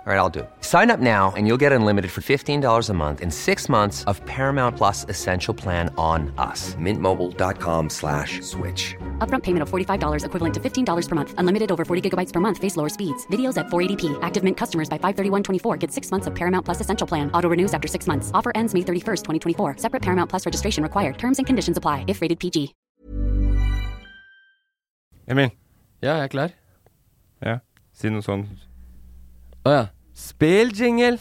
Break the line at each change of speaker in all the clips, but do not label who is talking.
All right, I'll do it. Sign up now and you'll get unlimited for $15 a month and six months of Paramount Plus Essential Plan on us. Mintmobile.com slash switch.
Upfront payment of $45 equivalent to $15 per month. Unlimited over 40 gigabytes per month. Face lower speeds. Videos at 480p. Active Mint customers by 531.24 get six months of Paramount Plus Essential Plan. Auto renews after six months. Offer ends May 31st, 2024. Separate Paramount Plus registration required. Terms and conditions apply if rated PG.
Emil,
Ja, jeg er klar.
ja. si noe sånn.
Å ja. Spill jingle!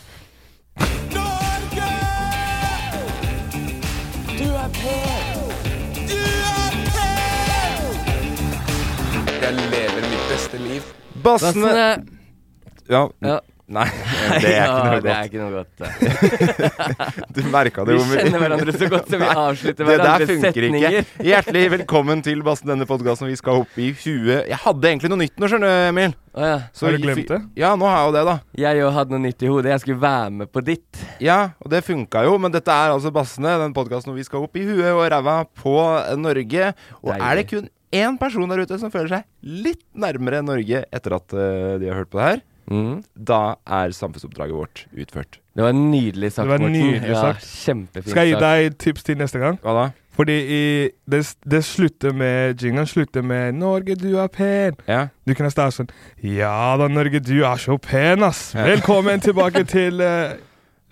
Jeg lever mitt beste liv.
Bassene Ja,
Ja.
Nei, det er ikke noe
Ja, det er
godt.
ikke noe godt. det.
Du merka det.
Vi
hvor mye-
kjenner hverandre så godt, så vi
Nei,
avslutter
det der
hverandres
funker
setninger.
Ikke. Hjertelig velkommen til Bassen denne podkasten. Vi skal opp i 20 Jeg hadde egentlig noe nytt nå, skjønner du, Emil.
Å ja.
Så
Har du
vi-
glemt det?
Ja, nå har jeg jo det, da.
Jeg jo hadde noe nytt i hodet. Jeg skulle være med på ditt.
Ja, og det funka jo, men dette er altså Bassene, den podkasten hvor vi skal opp i huet og ræva på eh, Norge. Og
Deilig.
er det kun én person der ute som føler seg litt nærmere Norge etter at eh, de har hørt på det her, da er samfunnsoppdraget vårt utført.
Mm. Det var nydelig sagt,
Det var
Morten.
nydelig
ja,
sagt.
Kjempefint
Skal jeg gi
sagt.
deg et tips til neste gang?
Hva da?
Fordi i, det, det slutter med jinglen slutter med 'Norge, du er pen'.
Ja.
Du kunne starte sånn 'Ja da, Norge, du er så pen, ass'.
Ja.
Velkommen tilbake til eh,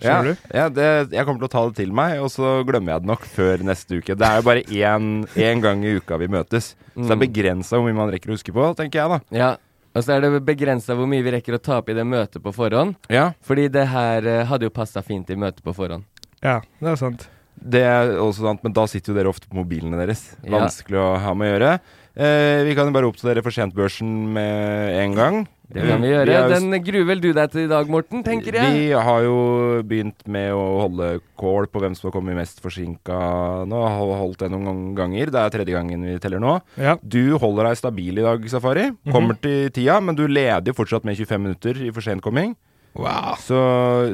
Ja,
Skjønner du?
ja det, jeg kommer til å ta det til meg, og så glemmer jeg det nok før neste uke. Det er jo bare én, én gang i uka vi møtes, så det er begrensa hvor mye man rekker å huske på, tenker jeg da.
Ja. Og så er det begrensa hvor mye vi rekker å ta opp i det møtet på forhånd.
Ja,
Fordi det her eh, hadde jo passa fint i møtet på forhånd.
Ja, det er sant.
Det er også sant, men da sitter jo dere ofte på mobilene deres.
Ja.
Vanskelig å ha med å gjøre. Eh, vi kan jo bare oppdatere for sent-børsen med en gang.
Det kan vi
Mm.
gjøre.
har jo
Den gruer vel du deg til i dag, Morten, tenker jeg.
Vi har jo begynt med å holde kål på hvem som har kommet mest forsinka nå. Har holdt det noen ganger. Det er tredje gangen vi teller nå.
Ja. Mhm.
Du holder deg stabil i dag, Safari. Kommer til tida, men du leder jo fortsatt med 25 minutter i for sent komming.
Wow.
Så,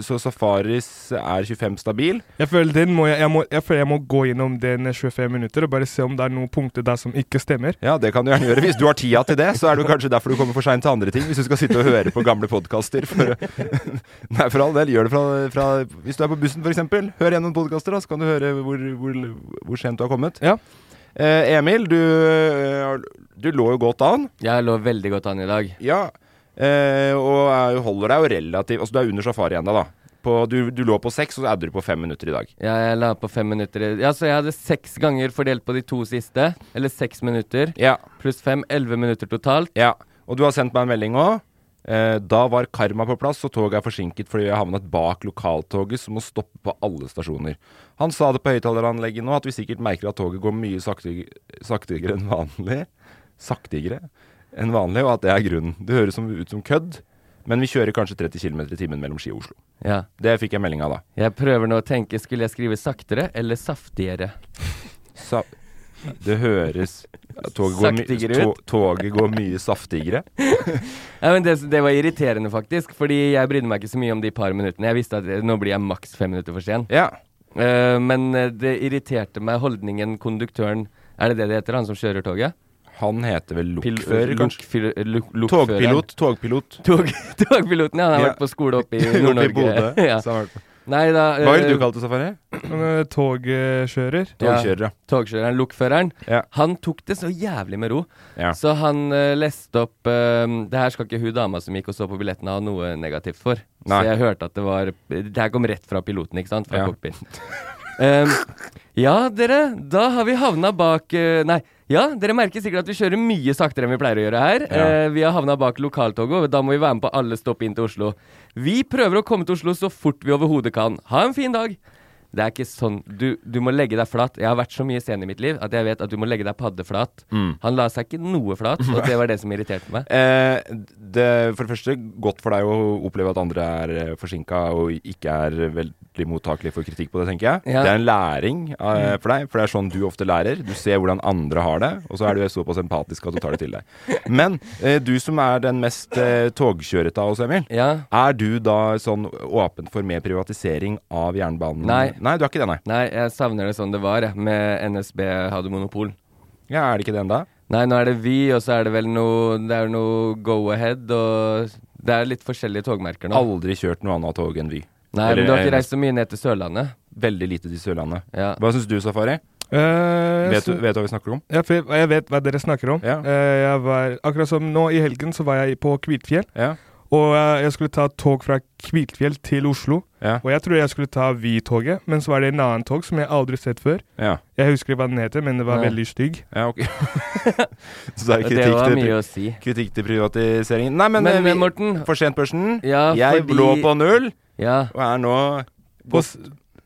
så Safaris er 25 stabil.
Jeg føler, den må jeg, jeg, må, jeg føler jeg må gå gjennom den 25 minutter og bare se om det er noen punkter der som ikke stemmer.
Ja, det kan du gjerne gjøre. Hvis du har tida til det, så er det jo kanskje derfor du kommer for seint til andre ting. Hvis du skal sitte og høre på gamle podkaster. For, nei, for all del, gjør det fra, fra Hvis du er på bussen, f.eks. Hør gjennom podkaster, da, så kan du høre hvor, hvor, hvor sent du har kommet.
Ja.
Eh, Emil, du, eh, du lå jo godt an.
Jeg lå veldig godt an i dag.
Ja. Eh, og er, jo- holder deg jo relativt Altså, du er under safari ennå, da. På, du, du lå på seks, og så adder du på fem minutter i dag.
Ja, jeg la på fem minutter i- Ja, så jeg hadde seks ganger fordelt på de to siste. Eller seks minutter.
Ja.
Pluss fem. Elleve minutter totalt.
Ja, og du har sendt meg en melding òg. Eh, da var Karma på plass, og toget er forsinket fordi jeg havnet bak lokaltoget, som må stoppe på alle stasjoner. Han sa det på høyttaleranlegget nå, at vi sikkert merker at toget går mye saktig, saktigere enn vanlig. Saktigere enn vanlig, og at det er grunnen. Det høres som, ut som kødd, men vi kjører kanskje 30 km i timen mellom Ski og Oslo.
Ja.
Det fikk jeg melding av da.
Jeg prøver nå å tenke, skulle jeg skrive saktere eller saftigere?
Sa det høres toget går, my
Saktigere
to
ut.
toget går mye saftigere.
Ja, men det, det var irriterende, faktisk. Fordi jeg brydde meg ikke så mye om de par minuttene. Jeg visste at eh, nå blir jeg maks fem minutter for sen.
Ja.
Eh, men eh, det irriterte meg holdningen konduktøren Er det det det heter, han som kjører toget?
Han heter vel
Pil-
lokfører, kanskje?
lokfyr- lok- lokføreren.
Togpilot. Togpilot.
Tog, togpiloten, ja. Han har
Ja.
vært på skole oppe i
Oppe i
Nord-Norge.
Bodø.
ja.
Så har han vært på-
Nei, da
Hva var det
eh,
du kalte det, Safari?
Eh, Togkjører.
Ja.
Togkjører, ja.
Togkjøreren, lokføreren.
Ja.
Han tok det så jævlig med ro.
Ja.
Så han eh, leste opp eh, Det her skal ikke hun dama som gikk og så på billetten ha noe negativt for.
Nei.
Så jeg hørte at det var Det her kom rett fra piloten, ikke sant? Fra
Ja.
cockpiten. Em, Ehm, ja, dere, da har vi havna bak eh, Nei. Ja, dere merker sikkert at vi kjører mye saktere enn vi pleier å gjøre her.
Ja.
Eh, vi har havna bak lokaltoget, og da må vi være med på alle stopp inn til Oslo. Vi prøver å komme til Oslo så fort vi overhodet kan. Ha en fin dag! Det er ikke sånn du, du må legge deg flat. Jeg har vært så mye sen i mitt liv at jeg vet at du må legge deg paddeflat. Han la seg ikke noe flat, og det var det som irriterte meg.
Eh, det, for det første, godt for deg å oppleve at andre er forsinka og ikke er veldig mottakelige for kritikk på det, tenker jeg.
Ja. Mm.
Det er en læring eh, for deg, for det er sånn du ofte lærer. Du ser hvordan andre har det, og så er du såpass empatisk at du tar det til deg. Men eh, du som er den mest eh, togkjørete av oss, Emil.
Ja.
Er du da sånn åpen for mer privatisering av jernbanen?
Nei.
Nei, du er ikke det, nei.
Nei, jeg savner det sånn det var, jeg, med NSB hadde monopol.
Ja, er det ikke det enda?
Nei, nå er det Vy, og så er det vel noe Det er noe Go-Ahead, og det er litt forskjellige togmerker nå.
Aldri kjørt noe annet tog enn Vy.
Nei, men
Eller,
du har ikke
eh,
reist så mye ned til Sørlandet.
Veldig lite til Sørlandet.
Ja.
Hva syns du, Safari?
Eh,
Vet du,
så-
vet du hva vi snakker om?
Ja, for jeg, jeg vet hva dere snakker om.
Ja.
Eh, jeg var, akkurat som nå i helgen så var jeg på Kvitfjell.
Ja.
Og eh, jeg skulle ta tog fra Kvitfjell til Oslo.
Ja.
Og jeg trodde jeg skulle ta Vy-toget, men så var det en annen tog som jeg aldri har sett før.
Ja,
Jeg husker hva den heter, men det var
Nei.
veldig stygg.
ja ok. Så det er
Det
kritikk,
var
til,
mye
pri-
å si.
kritikk til privatiseringen. Nei, men,
Men,
eh, vi,
eh, Morten-
For sent børsen.
Ja,
jeg
fordi-
lå på null,
Ja,
og er nå
På s-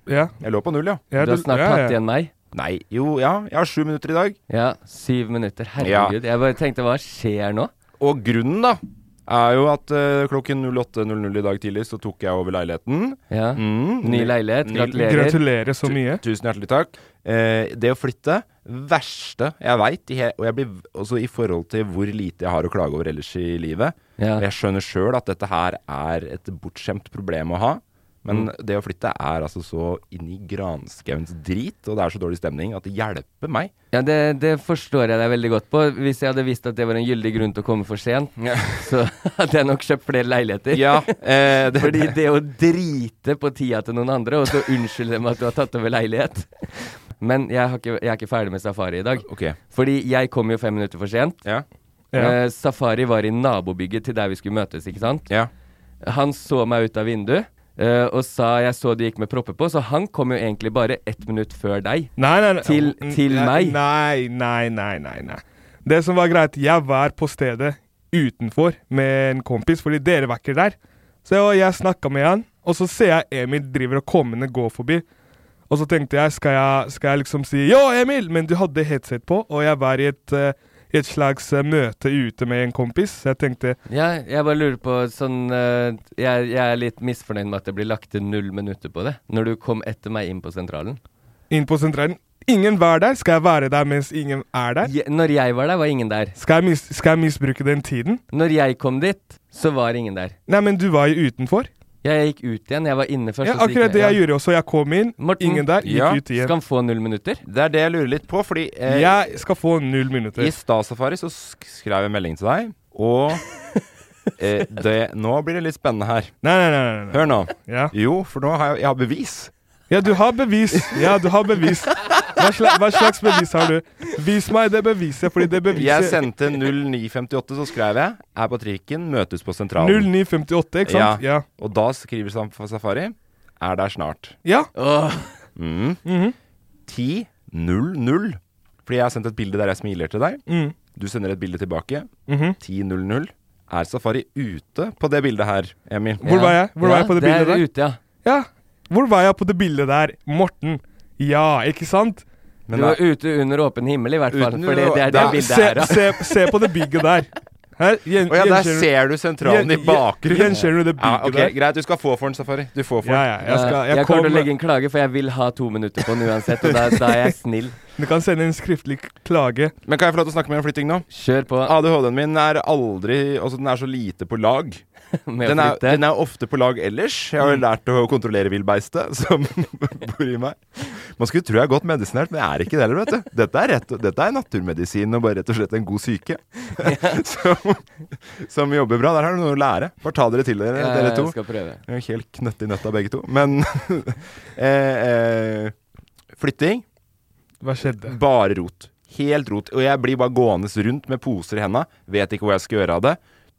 Ja,
Jeg lå på null, ja.
ja,
du har snart
ja,
tatt
ja.
igjen meg.
Nei, jo, ja. Jeg har sju minutter i dag.
Ja, syv minutter.
Ja.
Herregud. Jeg bare tenkte, hva skjer nå?
Og grunnen, da, er jo at eh, klokken 08.00 i dag tidlig så tok jeg over leiligheten.
Ja.
Mm,
Ny leilighet.
ny-
Gratulerer.
Gratulerer så mye.
Tusen hjertelig takk. Eh, det å flytte verste jeg veit, og jeg blir også i forhold til hvor lite jeg har å klage over ellers i livet.
Ja.
Og jeg skjønner sjøl at dette her er et bortskjemt problem å ha. Men det å flytte er altså så inn i granskauens drit, og det er så dårlig stemning at det hjelper meg.
Ja, det, det forstår jeg deg veldig godt på. Hvis jeg hadde visst at det var en gyldig grunn til å komme for sent, så hadde jeg nok kjøpt flere leiligheter.
Ja, eh, det,
Fordi det å drite på tida til noen andre, og så unnskylde dem at du har tatt over leilighet Men jeg, har ikke, jeg er ikke ferdig med safari i dag.
Ok.
Fordi jeg kom jo fem minutter for sent.
Ja.
Ja.
Eh, safari var i nabobygget til der vi skulle møtes, ikke sant?
ja.
Han så meg ut av vinduet. eh, og sa jeg så du gikk med propper på, så han kom jo egentlig bare ett minutt før deg.
Nei, nei, nei.
Til-
N-
til
nei,
meg.
Nei, nei, nei, nei, nei. Det som var greit, jeg var på stedet utenfor med en kompis, fordi dere var ikke der. Så jeg, jeg snakka med han, og så ser jeg Emil driver og kommende går forbi. Og så tenkte jeg, skal jeg, skal jeg liksom si 'ja, Emil', men du hadde headset på, og jeg var i et, eh, i et slags eh, møte ute med en kompis, så jeg tenkte
Ja, jeg bare lurer på sånn eh, jeg, jeg er litt misfornøyd med at det blir lagt til null minutter på det. Når du kom etter meg inn på sentralen.
inn på sentralen. Ingen var der. Skal jeg være der mens ingen er der?
Je, når jeg var der, var ingen der.
Skal jeg, mis skal jeg misbruke den tiden?
Når jeg kom dit, så var ingen der.
Nei, men du var jo utenfor.
Ja, jeg gikk ut igjen. Jeg var inne først.
Ja,
og så gikk
akkurat det jeg
ja.
gjorde også. Jeg kom inn,
Morten,
ingen der, gikk
ja,
ut igjen.
Skal han få null minutter?
Det er det jeg lurer litt på, fordi eh,
Jeg skal få null minutter.
i Stasafari så sk- skrev jeg melding til deg, og eh, det, Nå blir det litt spennende her.
Nei, nei, nei. nei, nei.
Hør nå.
Ja.
Jo, for nå har jeg, jeg har bevis.
ja, du har bevis. Ja, du har bevis. Hva slags, hva slags bevis har du? Vis meg det beviset, fordi det
Jeg
beviset
sendte 0958, så skrev jeg 'er på trikken, møtes på sentralen'.
0958, ikke sant? Ja.
Og da skriver Sam- Safari 'er der snart'.
Ja,
10.00. Fordi jeg har sendt et bilde der jeg smiler til deg.
Mm.
Du sender et bilde tilbake.
Mhm.
10.00. Er Safari ute på det bildet her, Emil?
Hvor var jeg? Hvor
ja,
var jeg på det bildet
der?
der?
Ute, ja.
ja. Hvor var jeg på det bildet der? Morten. Ja, ikke sant?
Men
du var
det-
ute under åpen himmel, i hvert fall.
Uten-
For det, det er det
Da-
bildet
se,
her, da.
se, se på det bygget der. Her, gjen,
Å ja, der
gjenkjenner-
ser du sentralen i
Gjen-
bakgrunnen.
Gjenkjenner du det
Ja,
bygget
ok,
der?
Greit, du skal få for den, Safari. Du får for
Ja,
den.
ja. Jeg, skal,
jeg kommer til å
kom-
legge en klage, for jeg vil ha to minutter på den uansett. Og da, da er jeg snill.
Du kan sende en skriftlig klage.
Men kan jeg få lov til å snakke mer om flytting nå?
Kjør på
ADHD-en min er aldri Altså, den er så lite på lag.
med
Den
å
er,
flytte.
den er ofte på lag ellers. Jeg
Mm.
har jo lært å kontrollere villbeistet som bor i meg. Man skulle tro jeg er godt medisinert, men jeg er ikke det heller, vet du. Dette er, rett, dette er naturmedisin og bare rett og slett en god syke som, som jobber bra. Der har du noe å lære. Bare ta dere til dere,
Ja,
dere to.
Jeg skal prøve.
Jeg er Helt knøtt i nøtta begge to. Men eh, eh, flytting
Hva skjedde?
bare rot. Helt rot. Og jeg blir bare gående rundt med poser i henda. Vet ikke hvor jeg skal gjøre av det.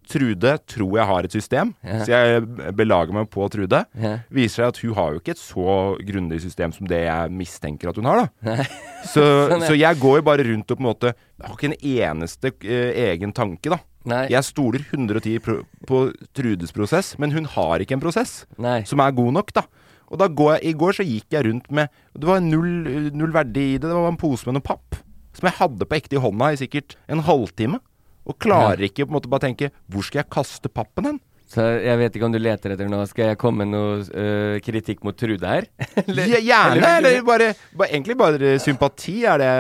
Trude tror jeg har et system,
Ja.
så jeg belager meg på Trude.
Ja.
Viser seg at hun har jo ikke et så grundig system som det jeg mistenker at hun har, da. Så,
Sånn, ja.
så jeg går jo bare rundt og på en måte Jeg har ikke en eneste eh, egen tanke, da.
Nei.
Jeg stoler 110 pro på Trudes prosess, men hun har ikke en prosess
Nei.
som er god nok, da. Og da går jeg, I går så gikk jeg rundt med Det var null, null verdi i det. Det var en pose med noe papp som jeg hadde på ekte i hånda i sikkert en halvtime. Og klarer ikke på en måte bare tenke Hvor skal jeg kaste pappen hen?
Så jeg vet ikke om du leter etter noe. Skal jeg komme med noe øh, kritikk mot Trude her?
Ja, gjerne! Eller bare, bare Egentlig bare sympati er det,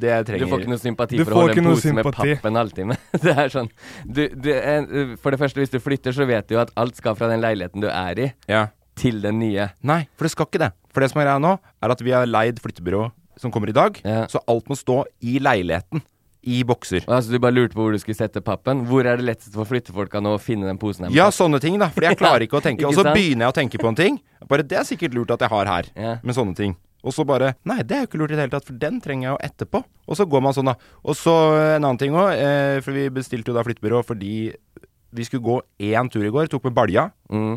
det jeg
Du
trenger.
får ikke noe sympati
Du
for
får
å holde
ikke
en
noe
pose med
sympati.
papp en halvtime. Det er sånn du, du, eh, For det første, hvis du flytter, så vet du jo at alt skal fra den leiligheten du er i,
Ja.
til den nye.
Nei, for det skal ikke det. For det som er greia nå, er at vi har leid flyttebyrå som kommer i dag,
Ja.
så alt må stå i leiligheten. I bokser.
Og Altså, du bare lurte på hvor du skulle sette pappen. Hvor er det lettest for flyttefolka nå å finne den posen? her med
Ja,
papp?
sånne ting, da. Fordi jeg klarer ikke å tenke.
Ikke
Og så
sant?
begynner jeg å tenke på en ting. Bare det er sikkert lurt at jeg har her,
Ja.
med sånne ting. Og så bare Nei, det er jo ikke lurt i det hele tatt, for den trenger jeg jo etterpå. Og så går man sånn, da. Og så eh, en annen ting òg, eh, for vi bestilte jo da flyttebyrå fordi vi skulle gå én tur i går. Tok med balja.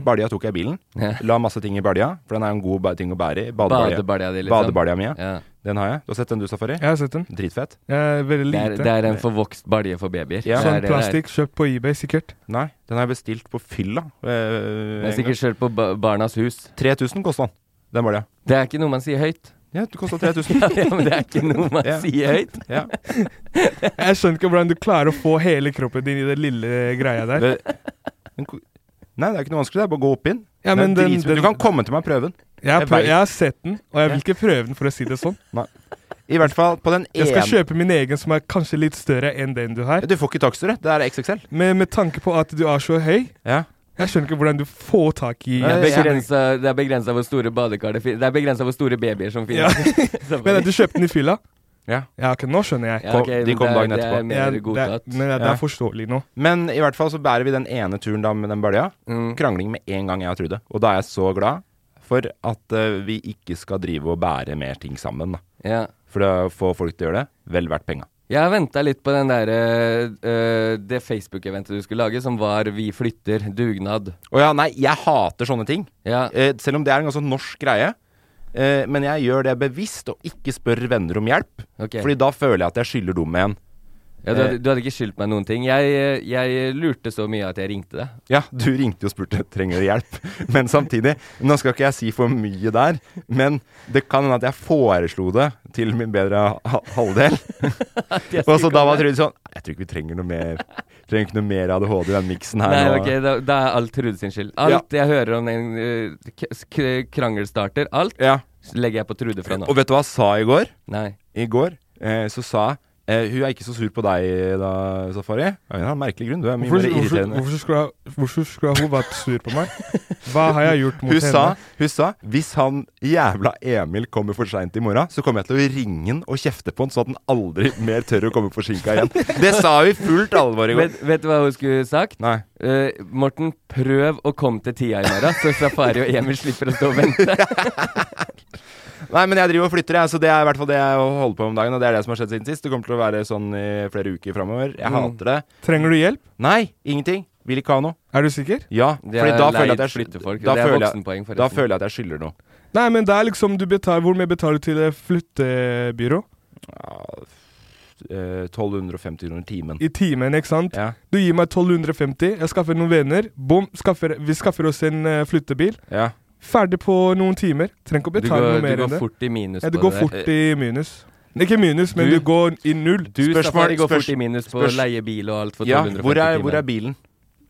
Balja tok jeg i bilen.
Mm. Ja.
La masse ting i balja, for den er jo en god ba- ting å bære i. Badebalja.
Badebalja di, liksom.
Badebalja mi. Ja.
Ja.
Den har jeg. Du har sett den du, Safari?
Jeg har sett den.
Dritfett.
Jeg er veldig
Det, er,
lite.
det er en forvokst balje for babyer.
Ja.
Det
sånn
er det det er.
plastikk kjøpt på eBay, sikkert.
Nei, den har jeg bestilt på fylla.
Det
Eh,
er sikkert kjørt på ba Barnas hus.
3000 kosta den. Den balja.
Det er ikke noe man sier høyt.
Ja, det kosta 3000.
ja, men det er ikke noe man
Ja.
sier høyt.
Ja.
Jeg skjønner ikke hvordan du klarer å få hele kroppen din i den lille greia der.
Det, den, ko- nei, det er ikke noe vanskelig. Det er bare å gå opp inn.
Ja,
Den
men
er
den-
dritsmooth.
den-
du kan komme til meg og prøve den.
Jeg har,
Jeg
prøv,
vet.
jeg har sett den, og jeg vil ikke prøve den, for å si det sånn.
I hvert fall på den ene
Jeg skal kjøpe min egen, som er kanskje litt større enn den du har.
Du får ikke takster, du. det er XXL.
Men med tanke på at du er så høy,
Ja.
jeg skjønner ikke hvordan du får tak i
Nei,
Men
jeg-
Begrensa- Det er begrensa hvor store badekar det finnes. Det er begrensa hvor store babyer som
Ja.
finnes. Så-
at du kjøpte den i fylla?
Ja.
Ja, ok, nå skjønner jeg.
Ja, ok,
de
men
kom
det er- det
dagen
er
etterpå.
Ja,
mer
det,
godtatt.
men det
Ja.
er forståelig nå.
Men i hvert fall så bærer vi den ene turen da med den bølja.
Mm.
Krangling med en gang jeg og Trude. Og da er jeg så glad for at eh, vi ikke skal drive og bære mer ting sammen. Da.
Ja.
For å få folk til å gjøre det, vel verdt penga.
Jeg har venta litt på den der, øh, øh, det Facebook-eventet du skulle lage, som var 'Vi flytter dugnad'.
Å ja, nei, jeg hater sånne ting.
Ja.
Eh, selv om det er en ganske norsk greie. Eh, men jeg gjør det bevisst, og ikke spør venner om hjelp.
Ok.
Fordi da føler jeg at jeg skylder dem Eh, igjen.
Ja, du, hadde, du hadde ikke skyldt meg noen ting. Jeg, øh, jeg lurte så mye at jeg ringte deg.
Ja, du ringte og spurte trenger du hjelp. Men samtidig, nå skal ikke jeg si for mye der, men det kan hende at jeg foreslo det til min bedre ha- halvdel. og så da var Trude sånn Jeg tror ikke vi trenger noe mer Trenger ikke noe mer ADHD i den miksen her.
Nei,
nå."
ok, da, da er alt Trude sin skyld. Alt jeg hører om den øh, k k krangelstarter, alt
Ja.
legger jeg på Trude fra nå.
Og vet du hva jeg sa i går?
Nei.
I går eh, så sa jeg eh, Hun er ikke så sur på deg da, Safari. Av en eller annen merkelig grunn. Du er mye
Hvorfor,
mer
hvorfor,
irriterende.
hvorfor, skulle, hvorfor skulle hun vært sur på meg? Hva har jeg gjort mot
Hun sa,
henne?
hun sa hvis han jævla Emil kommer for seint i morgen, så kommer jeg til å ringe han og kjefte på han, sånn at han aldri mer tør å komme forsinka igjen. Det sa hun i fullt alvor i går.
Vet, vet du hva hun skulle sagt?
Nei.
Eh, Morten, prøv å komme til tida i morgen, så Safari og Emil slipper å stå og vente.
Nei, men jeg driver og flytter, jeg, så det er i hvert fall det jeg holder på med om dagen. Og det er det som har skjedd siden sist. Det kommer til å være sånn i flere uker framover.
Mm.
Jeg hater det.
Trenger du hjelp?
Nei, ingenting. Vil ikke ha noe.
Er du sikker?
Ja,
Det
fordi
er
da
leid
føler jeg at jeg
flyttefolk,
da
det er
føler jeg-
voksenpoeng, forresten.
Da føler jeg at jeg skylder noe.
Nei, men det er liksom du betaler, Hvor mye betaler du til eh, flyttebyrå?
Eh, 1250 kroner timen.
I timen, ikke sant?
Ja.
Du gir meg 1250, jeg skaffer noen venner. Bom, skaffer, vi skaffer oss en eh, flyttebil.
ja.
Ferdig på noen timer. Trenger ikke å
Du
betale
går,
noe
du
mer enn
går
det.
fort i minus
Ja, du
på
går
det Eh, der.
fort i minus. Ikke minus, men
Du-
du, går i null.
Du,
Spørsmål-
Safari, går
spørs-
fort i minus på
spørs-
leie bil og alt for
ja
1250
hvor, er, hvor er
timer.
bilen?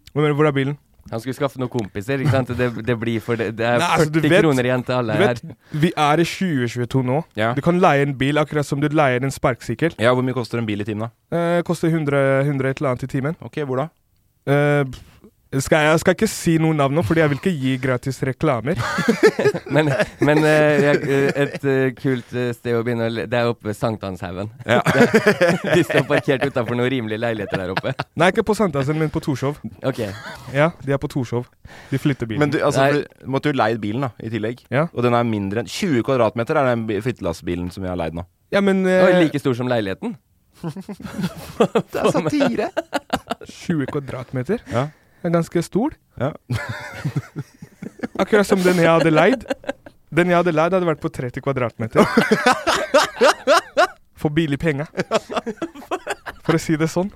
Hva mener du, hvor er bilen?
Han skulle skaffe noen kompiser, ikke sant? Det, det blir for Det, det er
Nei, altså, du
40
vet-
kroner igjen til
Du
alle her.
vet, vi er i 2022 nå.
Ja.
Du kan leie en bil akkurat som du leier en sparkesykkel.
Ja, Hvor mye koster en bil i timen, da?
Eh, koster 100, 100 et eller annet i timen.
Ok, hvor da?
Eh, skal jeg, jeg skal ikke si noe navn nå, fordi jeg vil ikke gi gratis reklamer.
Men, men eh, jeg, eh, et eh, kult eh, sted å begynne å le- Det er oppe ved Sankthanshaugen. De står parkert utafor noen rimelige leiligheter der oppe.
Nei, ikke på Sandtasen, men på Torshov.
Ok.
Ja, de er på Torshov. De flytter bilen.
Men du, altså,
Nei.
du måtte jo leid bilen da, i tillegg.
Ja.
Og den er mindre enn 20 kvadratmeter er den bi- flyttelastbilen som vi har leid nå.
ja, men
Det
eh,
var like stor som leiligheten.
Det er satire!
20 kvadratmeter
Ja.
er ganske stor.
Ja.
Akkurat som den jeg hadde leid. Den jeg hadde leid, hadde vært på 30 kvadratmeter. For billig penga. For å si det sånn.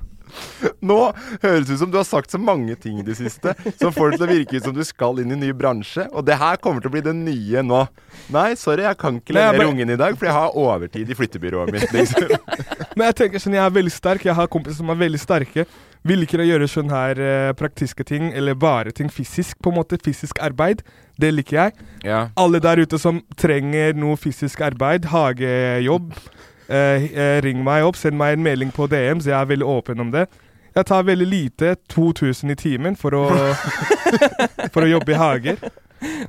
Nå høres det ut som du har sagt så mange ting i det siste som får det til å virke ut som du skal inn i en ny bransje, og det her kommer til å bli det nye nå. Nei, sorry, jeg kan ikke
Nei, jeg
levere
bare-
ungen i dag, for jeg har overtid i flyttebyrået mitt. Liksom.
Men jeg tenker sånn, jeg er veldig sterk, jeg har kompiser som er veldig sterke. Vi liker å gjøre sånn her eh, praktiske ting, eller bare ting fysisk, på en måte. Fysisk arbeid. Det liker jeg.
Ja.
Alle der ute som trenger noe fysisk arbeid, hagejobb, eh, eh, ring meg opp, send meg en melding på DM, så jeg er veldig åpen om det. Jeg tar veldig lite, 2000 i timen, for å, for å jobbe i hager.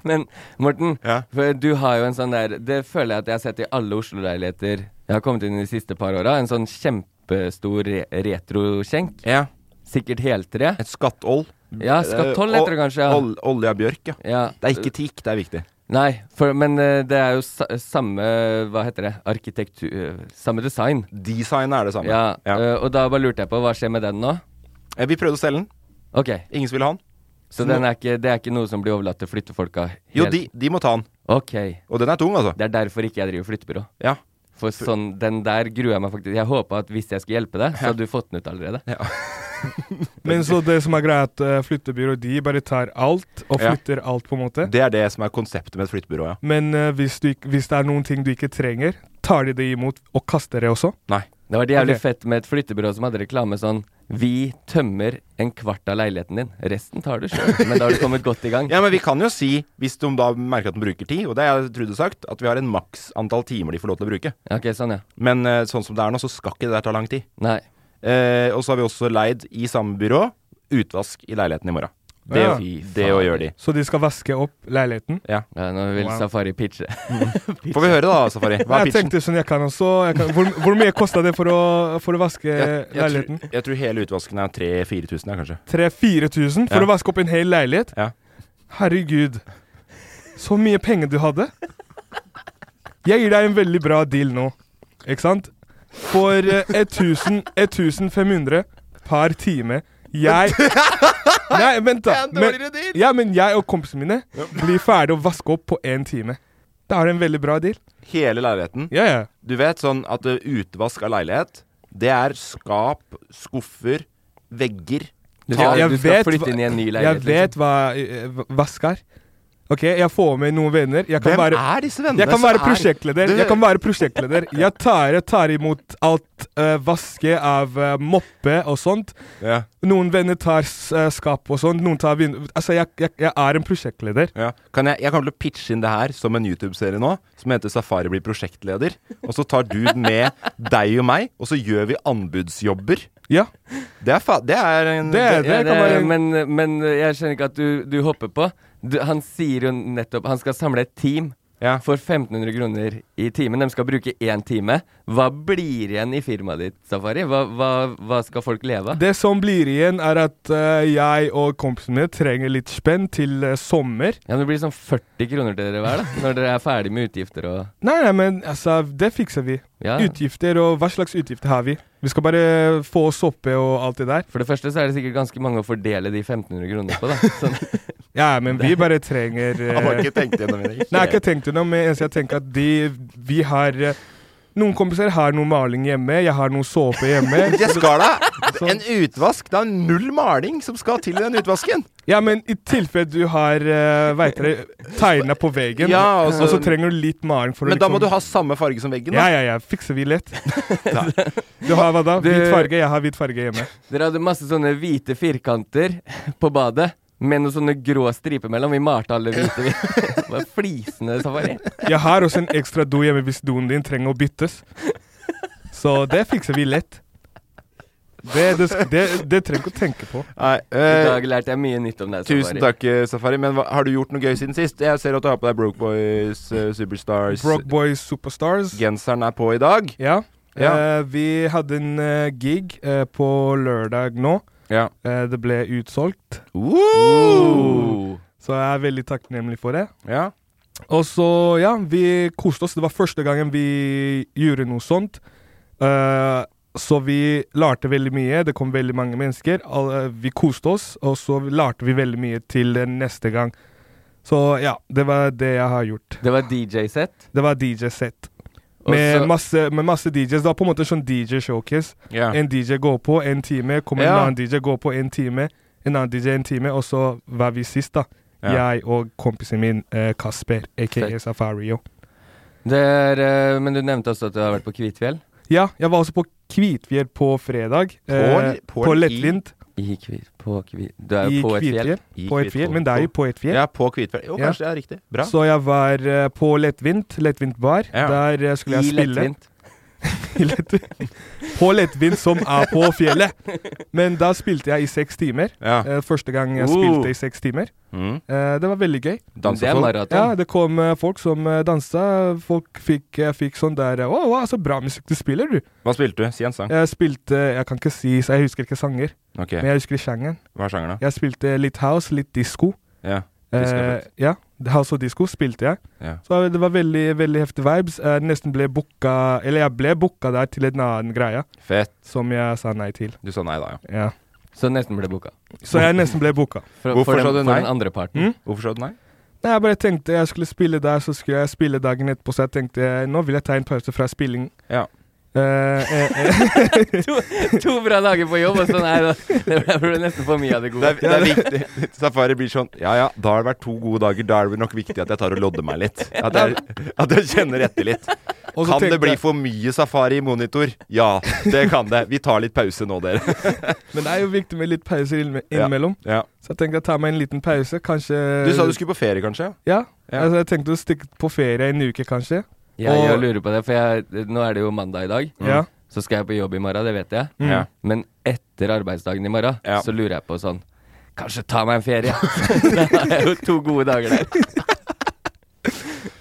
Men Morten,
Ja.
for du har jo en sånn der Det føler jeg at jeg har sett i alle Oslo-leiligheter jeg har kommet inn i de siste par åra. En sånn kjempestor re retroskjenk.
ja.
Sikkert heltre.
Et skattoll.
Ja,
Eh,
skattoll heter det kanskje.
Ja.
Ja.
Ol olje av bjørk, ja.
Ja.
Det er ikke teak, det er viktig.
Nei, for, men eh, det er jo sa samme Hva heter det? Arkitektur eh, Samme design.
Designet er det samme.
Ja,
Ja.
eh, og da bare lurte jeg på hva skjer med den nå?
Eh, Vi prøvde å selge den.
Ok,
Ingen som ville ha den.
så den er ikke, det er ikke noe som blir overlatt til flyttefolka? helt-
Jo, de, de må ta den.
Ok,
Og den er tung, altså.
det er derfor ikke jeg driver flyttebyrå.
Ja.
For sånn, den der gruer jeg meg faktisk Jeg håpa at hvis jeg skulle hjelpe deg, så hadde du fått den ut allerede.
Men så det som er greia, er at eh, flyttebyrå de bare tar alt, og
Ja.
flytter alt, på en måte.
Det er det som er konseptet med et flyttebyrå, ja.
Men eh, hvis, du, ikk- hvis det er noen ting du ikke trenger, tar de det imot og kaster det også.
Det var jævlig
Ok.
fett med et flyttebyrå som hadde reklame sånn Vi tømmer en kvart av leiligheten din. Resten tar du sjøl. Men da har du kommet godt i gang.
Ja, men vi kan jo si, hvis de da merker at de bruker tid, og det har jeg Trude sagt, at vi har en maks antall timer de får lov til å bruke.
Ok, sånn, ja.
Men eh, sånn som det er nå, så skal ikke det der ta lang tid.
Nei.
Eh, og så har vi også leid i samme byrå utvask i leiligheten i morgen. Det,
Ja.
det å gjøre de.
Så de skal vaske opp leiligheten.
Ja, nå vil
Wow.
Safari pitche.
Får vi høre da, Safari. Hva er
Jeg
pitchen?
tenkte sånn, jeg kan også jeg kan, hvor, hvor mye kosta det for å, for å vaske
jeg,
eh, leiligheten?
tror, jeg tror hele utvasken er 3000-4000, ja, kanskje.
3000-4000
Ja.
for å vaske opp en hel leilighet?
Ja.
Herregud. Så mye penger du hadde. Jeg gir deg en veldig bra deal nå, ikke sant? For eh, 1000 1500 per time. Jeg Nei, vent, da. Men, ja, men jeg og kompisene mine blir ferdig å vaske opp på én time. Da er det en veldig bra deal.
Hele leiligheten.
Ja, ja.
Du vet sånn at eh, utvask av leilighet, det er skap, skuffer, vegger.
Du skal,
Jeg
du skal
vet hva-
flytte inn i en ny
Jeg
leilighet. liksom.
vet hva eh, vask er. OK, jeg får med noen venner. Jeg kan
Hvem
være
er disse vennene
Jeg kan
som
være
er-
prosjektleder.
Du-
Jeg kan være prosjektleder. Jeg tar, jeg tar imot alt eh, vaske av eh, moppe og sånt.
Ja.
Noen venner tar s- eh, skap og sånt. Noen tar vind... Altså, jeg, jeg, jeg er en prosjektleder.
Ja. Kan jeg, jeg kommer til å pitche inn det her som en YouTube-serie nå, som heter Safari blir prosjektleder. Og så tar du med deg og meg, og så gjør vi anbudsjobber.
Ja.
Det er, fa det er en
Det
Ja,
er- det kan
det,
være-
men, men jeg skjønner ikke at du, du hopper på. Du, han sier jo nettopp Han skal samle et team
Ja.
for 1500 kroner i timen. De skal bruke én time. Hva blir igjen i firmaet ditt, Safari? Hva, hva, hva skal folk leve av?
Det som blir igjen, er at eh, jeg og kompisene mine trenger litt spenn til eh, sommer.
Ja, men det blir sånn 40 kroner til dere hver, da. Når dere er ferdig med utgifter og
Nei, nei, men altså, det fikser vi.
Ja.
Utgifter, og hva slags utgifter har vi? Vi skal bare få soppe og alt det der.
For det første så er det sikkert ganske mange å fordele de 1500 kronene på, da. Sånn.
Ja, men vi bare trenger eh,
Jeg har ikke tenkt gjennom det.
Nei, jeg har ikke tenkt gjennom, men eneste jeg tenker at de, vi har eh, Noen kompiser har noe maling hjemme, jeg har noe såpe hjemme.
Jeg skal da En utvask! Det er null maling som skal til i den utvasken.
Ja, men i tilfelle du har uh, veit dere, tegna på veggen,
Ja,
og
altså-
så trenger du litt maling for
Men
å
da må du ha samme farge som veggen.
Ja,
Da.
ja, ja. Fikser vi lett. Du har hva da?
Du-
Hvit farge? Jeg har hvit farge hjemme.
Dere hadde masse sånne hvite firkanter på badet. Med noen sånne grå striper mellom. Vi malte alle hvite. Vi. Det var flisende safari.
Jeg har også en ekstra do hjemme hvis doen din trenger å byttes. Så det fikser vi lett. Det, det, det, det trenger du ikke å tenke på.
Nei,
I
eh,
dag lærte jeg mye nytt om deg,
tusen
safari.
takk, eh, Safari. Men hva, har du gjort noe gøy siden sist? Jeg ser at du har på deg Broke Boys eh, Superstars.
Broke Boys Superstars.
Genseren er på i dag.
Ja.
Ja.
Eh, vi hadde en eh, gig eh, på lørdag nå.
Ja.
Eh, det ble utsolgt,
Oh.
så jeg er veldig takknemlig for det.
Ja.
Og så, ja, vi koste oss. Det var første gangen vi gjorde noe sånt. Eh, så vi lærte veldig mye. Det kom veldig mange mennesker. Alle- vi koste oss, og så lærte vi veldig mye til eh, neste gang. Så ja, det var det jeg har gjort.
Det var DJ-sett.
Det var DJ-sett.
Og
Med
så-
masse, med masse DJs. Det var på en måte sånn DJ-showcase.
Ja.
En DJ går på en time, kommer
Ja.
en annen DJ går på en time, en annen DJ en time, og så var vi sist, da.
Ja.
Jeg og kompisen min eh, Kasper, aka
Fett.
Safario.
Det er, eh, men du nevnte også at du har vært på Kvitfjell.
Ja, jeg var også på Kvitfjell på fredag. eh,
På- på-
på lettvint.
I Kvit... På Kvit... Du er
I
jo på et fjell.
Kvitfjell.
I
På et
Kvitfjell.
fjell, men det er jo på et fjell.
Ja, på Kvitfjell. Jo,
Ja.
kanskje det er riktig. Bra.
Så jeg var eh, på lettvint, lettvint bar.
Ja.
Der eh, skulle jeg
I
spille.
lettvint.
I lettvint. på lettvint, som er på fjellet. Men da spilte jeg i seks timer.
Ja.
Eh, første gang jeg
Oh.
spilte i seks timer.
Mm.
Eh, det var veldig gøy.
Det er
Dansefolk.
maraton.
Ja, det kom eh, folk som eh, dansa. Folk fikk, jeg fikk sånn der eh, Å, wow, så bra musikk du spiller, du.
Hva spilte du? Si en sang.
Jeg spilte Jeg kan ikke si, så jeg husker ikke sanger.
Ok,
Men jeg husker sjangeren.
Hva er sjangeren, da?
Jeg spilte litt house, litt disko.
Ja. Disco er
Eh,
fett.
ja, house og disko spilte jeg.
Ja.
Så det var veldig veldig heftig vibes. Jeg nesten ble booka Eller jeg ble booka der til en annen greie
Fett.
som jeg sa nei til.
Du sa nei da, ja.
Ja.
Så nesten ble booka.
Så jeg nesten ble booka.
For,
Hvorfor
for den,
sa du
For
nei? Hm?
den andre parten.
Hvorfor sa du nei?
Nei, Jeg bare tenkte jeg skulle spille der, så skulle jeg spille dagen etterpå. Så jeg tenkte eh, nå vil jeg ta en pause fra spillingen.
Ja.
Eh, eh, eh.
To bra dager på jobb, og så nei da. Det ble- ble nesten for mye av det
Det
gode.
er, det er viktig. Safari blir sånn Ja ja, da har det vært to gode dager. Da er det nok viktig at jeg tar og lodder meg litt. At jeg, at jeg kjenner etter litt.
Og så
Kan det
tenkte
bli
jeg-
for mye safari i monitor? Ja, det kan det. Vi tar litt pause nå, dere.
Men det er jo viktig med litt pauser innme-
Ja.
innimellom.
Ja.
Så jeg tenkte jeg tar meg en liten pause. Kanskje
Du sa du skulle på ferie, kanskje?
Ja.
Ja.
Altså, jeg tenkte å stikke på ferie en uke, kanskje.
Jeg,
Og-
jeg lurer på det, for jeg, nå er det jo mandag i dag.
Ja.
Så skal jeg på jobb i morgen, det vet jeg.
Mm.
Ja.
Men etter arbeidsdagen i morgen,
Ja.
så lurer jeg på sånn Kanskje ta meg en ferie. da har jeg jo to gode dager der.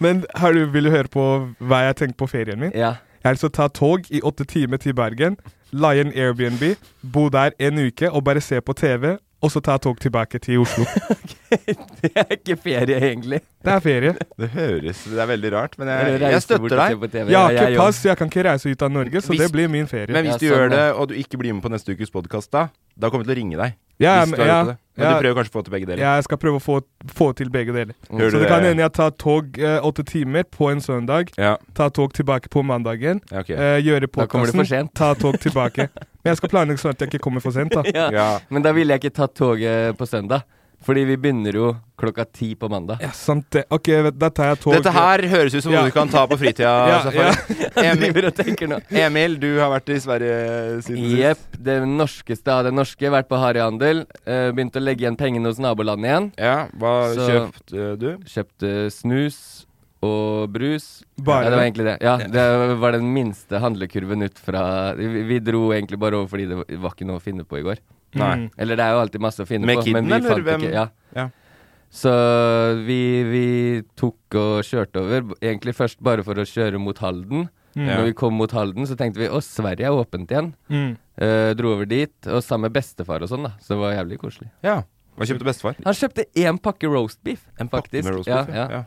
Men har du, vil du høre på hva jeg tenker på ferien min?
Ja.
Jeg har lyst til å ta tog i åtte timer til Bergen, leie en Airbnb, bo der en uke og bare se på TV, og så ta tog tilbake til Oslo.
Det er ikke ferie, egentlig.
Det er ferie.
Det høres Det er veldig rart, men
Eller
jeg,
reise
jeg
bort
støtter
og se
deg.
på TV.
Jeg
Ja,
har ikke
jeg
pass, jeg kan ikke reise ut av Norge, så
Hvis-
det blir min ferie.
Men
Ja,
hvis du
sånn,
gjør det,
ja.
og du ikke blir med på neste ukes podkast, da Da kommer vi til å ringe deg.
Ja,
hvis du
men-
har
ja,
gjort det. Men
ja.
du prøver kanskje å få til begge deler.
Jeg skal prøve å få, få til begge deler.
Gjør
Så
du
det
det?
kan hende jeg tar tog eh, åtte timer på en søndag,
Ja,
ta tog tilbake på mandagen,
ja, ok.
eh, gjøre
Da kommer du for
podkasten,
sent.
ta tog tilbake. Men jeg skal planlegge sånn at jeg ikke kommer for sent, da.
Ja.
Ja.
Men da ville jeg ikke tatt toget på søndag. Fordi vi begynner jo klokka ti på mandag.
Ja, sant det. Ok, vet- da tar jeg tog.
Dette her høres ut som
Ja.
noe du kan ta på fritida.
ja, ja.
Safari.
Jeg
Emil,
driver og tenker nå.
Emil, du har vært i Sverige siden sist.
Jepp. Det norskeste av det norske. Vært på harryhandel. eh, Begynt å legge igjen pengene hos nabolandet igjen.
Ja, hva
Så- Mm.
kjøpte du?
Kjøpte snus og brus.
eh, Bare
ja, det var
det?
egentlig det. Ja, det var den minste handlekurven ut fra Vi, vi dro egentlig bare over fordi det var- var ikke noe å finne på i går.
Nei.
Eller det er jo alltid masse å finne
Med
på.
kidden, eller
fant
hvem?
Ikke, ja.
Ja.
Så vi, vi tok og kjørte over, b- egentlig først bare for å kjøre mot Halden. Når vi kom mot Halden, så tenkte vi å, Sverige er åpent igjen.
Mm.
Eh, dro over dit, og sammen med bestefar og sånn, da. Så det var jævlig koselig.
Ja. Hva kjøpte bestefar?
Han kjøpte én pakke roast beef, faktisk.
Med roast
Ja,
beef,
ja.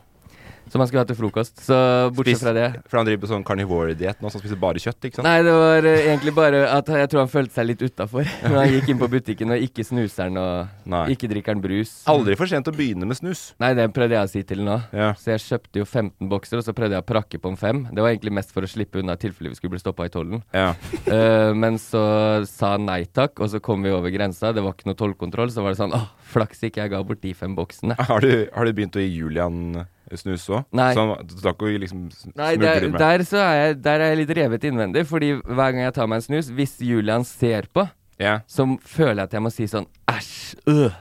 Som han skulle ha til frokost. Så bortsett
Spis-
fra det
For han driver på sånn carnivore-diett nå, så han spiser bare kjøtt, ikke sant?
Nei, det var eh, egentlig bare at jeg tror han følte seg litt utafor. Når han gikk inn på butikken og ikke snuser han og
Nei.
ikke drikker han brus.
Aldri for sent å begynne med snus.
Nei, det prøvde jeg å si til nå.
Ja.
Så jeg kjøpte jo 15 bokser, og så prøvde jeg å prakke på om fem. Det var egentlig mest for å slippe unna i tilfelle vi skulle bli stoppa i tollen.
Ja.
Eh, men så sa han nei takk, og så kom vi over grensa. Det var ikke noe tollkontroll. Så var det sånn åh, flaks ikke jeg ga bort de fem boksene.
Har, du, har du begynt å gi Julian eh, snus òg?
Nei.
Så han du snakker jo liksom sn-
Nei,
smugler
der,
med.
der, så er jeg, der er jeg litt revet innvendig, fordi hver gang jeg tar meg en snus, hvis Julian ser på,
Ja.
så føler jeg at jeg må si sånn æsj, øh.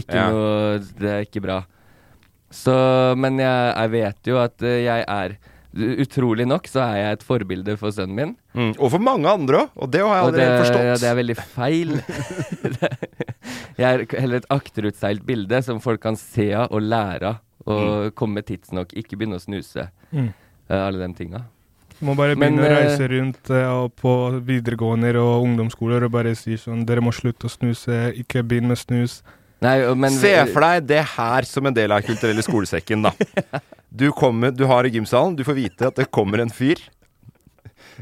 Ikke
Ja.
noe Det er ikke bra. Så Men jeg, jeg vet jo at eh, jeg er Utrolig nok så er jeg et forbilde for sønnen min.
Mm. Og for mange andre òg, og det har jeg
Og det,
aldri helt forstått.
ja, det er veldig feil. jeg er heller et akterutseilt bilde som folk kan se av og lære av. Og komme tidsnok. Ikke begynne å snuse.
Mm.
eh, alle de tinga.
Må bare
Men,
begynne å
eh,
reise rundt eh, og på videregående og ungdomsskoler og bare si sånn Dere må slutte å snuse, ikke begynn med snus.
Nei, og- men
Se for deg det her som en del av kulturelle skolesekken, da. Du, kommer, du har i gymsalen, du får vite at det kommer en fyr.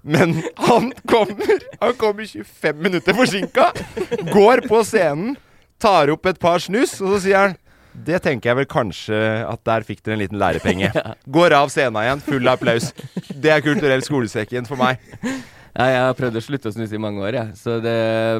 Men han kommer Han kommer 25 minutter forsinka, går på scenen, tar opp et par snus, og så sier han det tenker jeg vel kanskje at der fikk dere en liten lærepenge. Går av scenen igjen, full av applaus. Det er kulturell skolesekken for meg.
Nei, jeg har prøvd å slutte å snuse i mange år, jeg. Så det,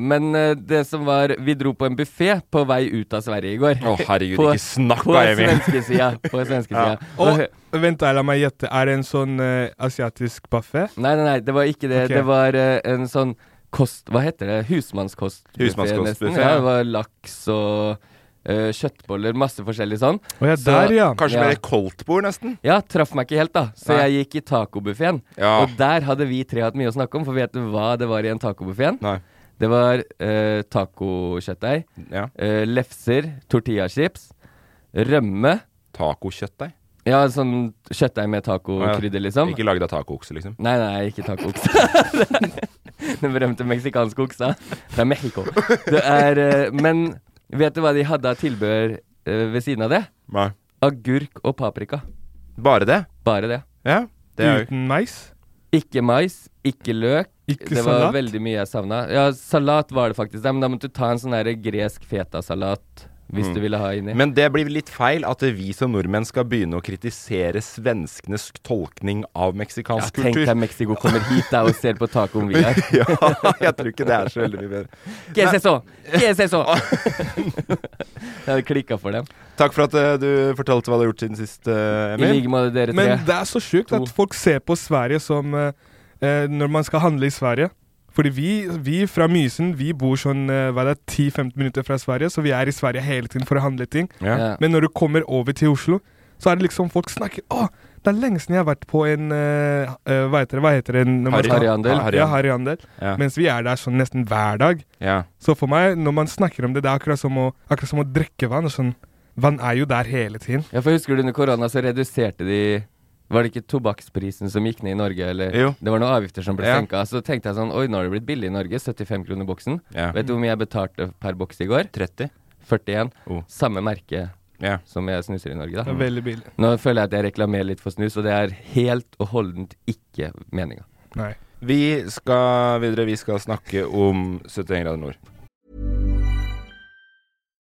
men eh, det som var Vi dro på en buffé på vei ut av Sverige i går.
Å, herregud,
På-
ikke snakk,
På
da, Emil.
svenskesida. På svenskesida.
Og vent, da, la meg gjette. Er det en sånn eh, asiatisk buffé?
Nei, nei, nei, det var ikke det.
Ok.
Det var eh, en sånn kost... Hva heter det? Husmannskost.
Husmannskostbuffé,
Ja,
ja.
det var laks og eh, kjøttboller, masse forskjellig sånn.
Å ja,
Så-
der, ja.
Kanskje
Ja.
mer koldtbord, nesten.
Ja, traff meg ikke helt, da. Så
Nei.
jeg gikk i tacobuffeen.
Ja.
Og der hadde vi tre hatt mye å snakke om, for vet du hva det var i en tacobuffeen?
Nei.
Det var uh, tacokjøttdeig,
Ja.
eh, lefser, tortillachips, rømme
Tacokjøttdeig.
Ja, sånn kjøttdeig med
Ja.
tacokrydder, liksom.
Ikke lagd av tacookse, liksom.
Nei, nei, ikke tacookse. Den berømte meksikanske oksa fra Mexico. Det er eh, Men vet du hva de hadde av tilbehør eh, ved siden av det?
Nei.
Agurk og paprika.
Bare det?
Bare det.
Ja. Det er jo
Uten mais?
Ikke mais, ikke løk.
Ikke
det var
salat?
veldig mye jeg savna. Ja, salat var det faktisk der, men da måtte du ta en sånn der gresk fetasalat hvis du ville ha inni.
Men det blir litt feil at vi som nordmenn skal begynne å kritisere svenskenes tolkning av
ja,
meksikansk
tenk
kultur.
deg Mexico kommer hit da og ser på tacoen vi har.
ja, jeg tror ikke det er så veldig mye bedre.
¿Qué es eso? ¿Qué es eso? Jeg hadde klikka for dem.
Takk for at eh, du fortalte hva du har gjort siden sist, eh,
I
Emil.
like måte, dere tre.
Men det er så sjukt
To.
at folk ser på Sverige som eh, eh, Når man skal handle i Sverige. Fordi vi, vi fra Mysen vi bor sånn eh, hva er det, 10-15 minutter fra Sverige, så vi er i Sverige hele tiden for å handle ting.
ja.
Men når du kommer over til Oslo, så er det liksom folk snakker Å, det er lenge siden jeg har vært på en eh, eh, Hva heter det? Hva heter det når man
Harry-
skal-
Harryhandel.
Ja, harryhandel.
Ja.
Mens vi er der sånn nesten hver dag.
Ja.
Så for meg, når man snakker om det, det er akkurat som å, akkurat som å drikke vann. og Sånn, vann er jo der hele tiden.
Ja, for husker du under korona så reduserte de Var det ikke tobakksprisen som gikk ned i Norge, eller?
Jo.
Det var noen avgifter som ble
Ja.
senka. Så tenkte jeg sånn Oi, nå har det blitt billig i Norge. 75 kroner boksen.
Ja.
Vet du hvor mye jeg betalte per boks i går?
30?
41.
Oh.
Samme merke
Ja.
som jeg snuser i Norge,
Det
da.
er veldig billig.
Nå føler jeg at jeg reklamerer litt for snus, og det er helt og holdent ikke meninga.
Nei.
Vi skal videre. Vi skal snakke om 71 grader nord.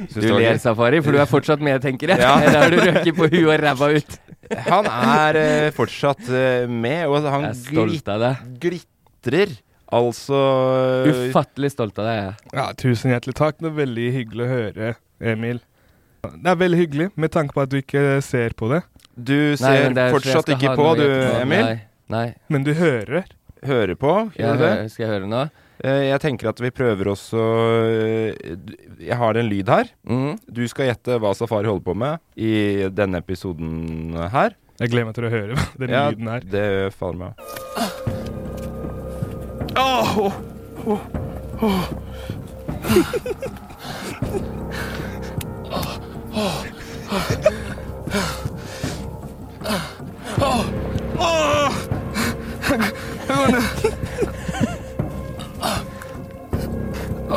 Syns det
Du
var
ler,
gøy.
Safari, for du er fortsatt med, tenker jeg.
Ja.
Der du røker på huet og ræva ut.
Han er eh, fortsatt eh, med, og han
Jeg er stolt av deg.
glitrer. Altså eh,
er Ufattelig stolt av deg. jeg.
Ja, tusen hjertelig takk. Det er veldig hyggelig å høre, Emil. Det er veldig hyggelig, med tanke på at du ikke ser på det.
Du ser
men det er-
fortsatt
jeg skal
ikke
ha
på,
noe
du,
etterpå.
Emil?
Nei, nei.
Men du hører.
Hører på?
Jeg
gjør du det?
hører- skal jeg høre nå?
Eh, Jeg tenker at vi prøver også eh, d- Jeg har en lyd her. Du skal gjette hva Safari holder på med i denne episoden her.
Jeg gleder meg til å høre den lyden her.
Det faller meg av.
Åh, åh, åh, åh.
Åh, åh. Åh, åh. Jeg går ned. Åh. Åh.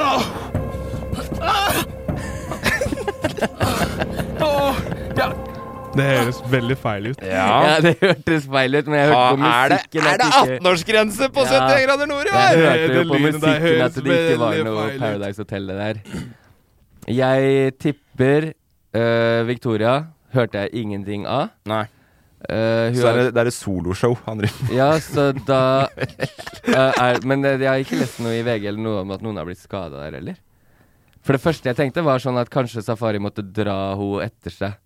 Ah. Åh. Ja.
Det høres veldig feil ut.
Ja, det hørtes feil ut, men jeg hørte på
Ah, er det-
musikken
er det 18-årsgrense på 70 grader nord,
ja?
eller?
Jeg hørte jo på
Den lyden der
musikken
høres
at det ikke var
veldig
noe
feil ut.
Paradise Hotel det der. Jeg tipper øh, Victoria hørte jeg ingenting av.
Nei.
Øh, hun
Så er det,
har-
det er et soloshow han driver med.
Ja, så da øh, er, Men øh, jeg har ikke lest noe i VG eller noe om at noen har blitt skada der heller. For det første jeg tenkte, var sånn at kanskje Safari måtte dra henne etter seg.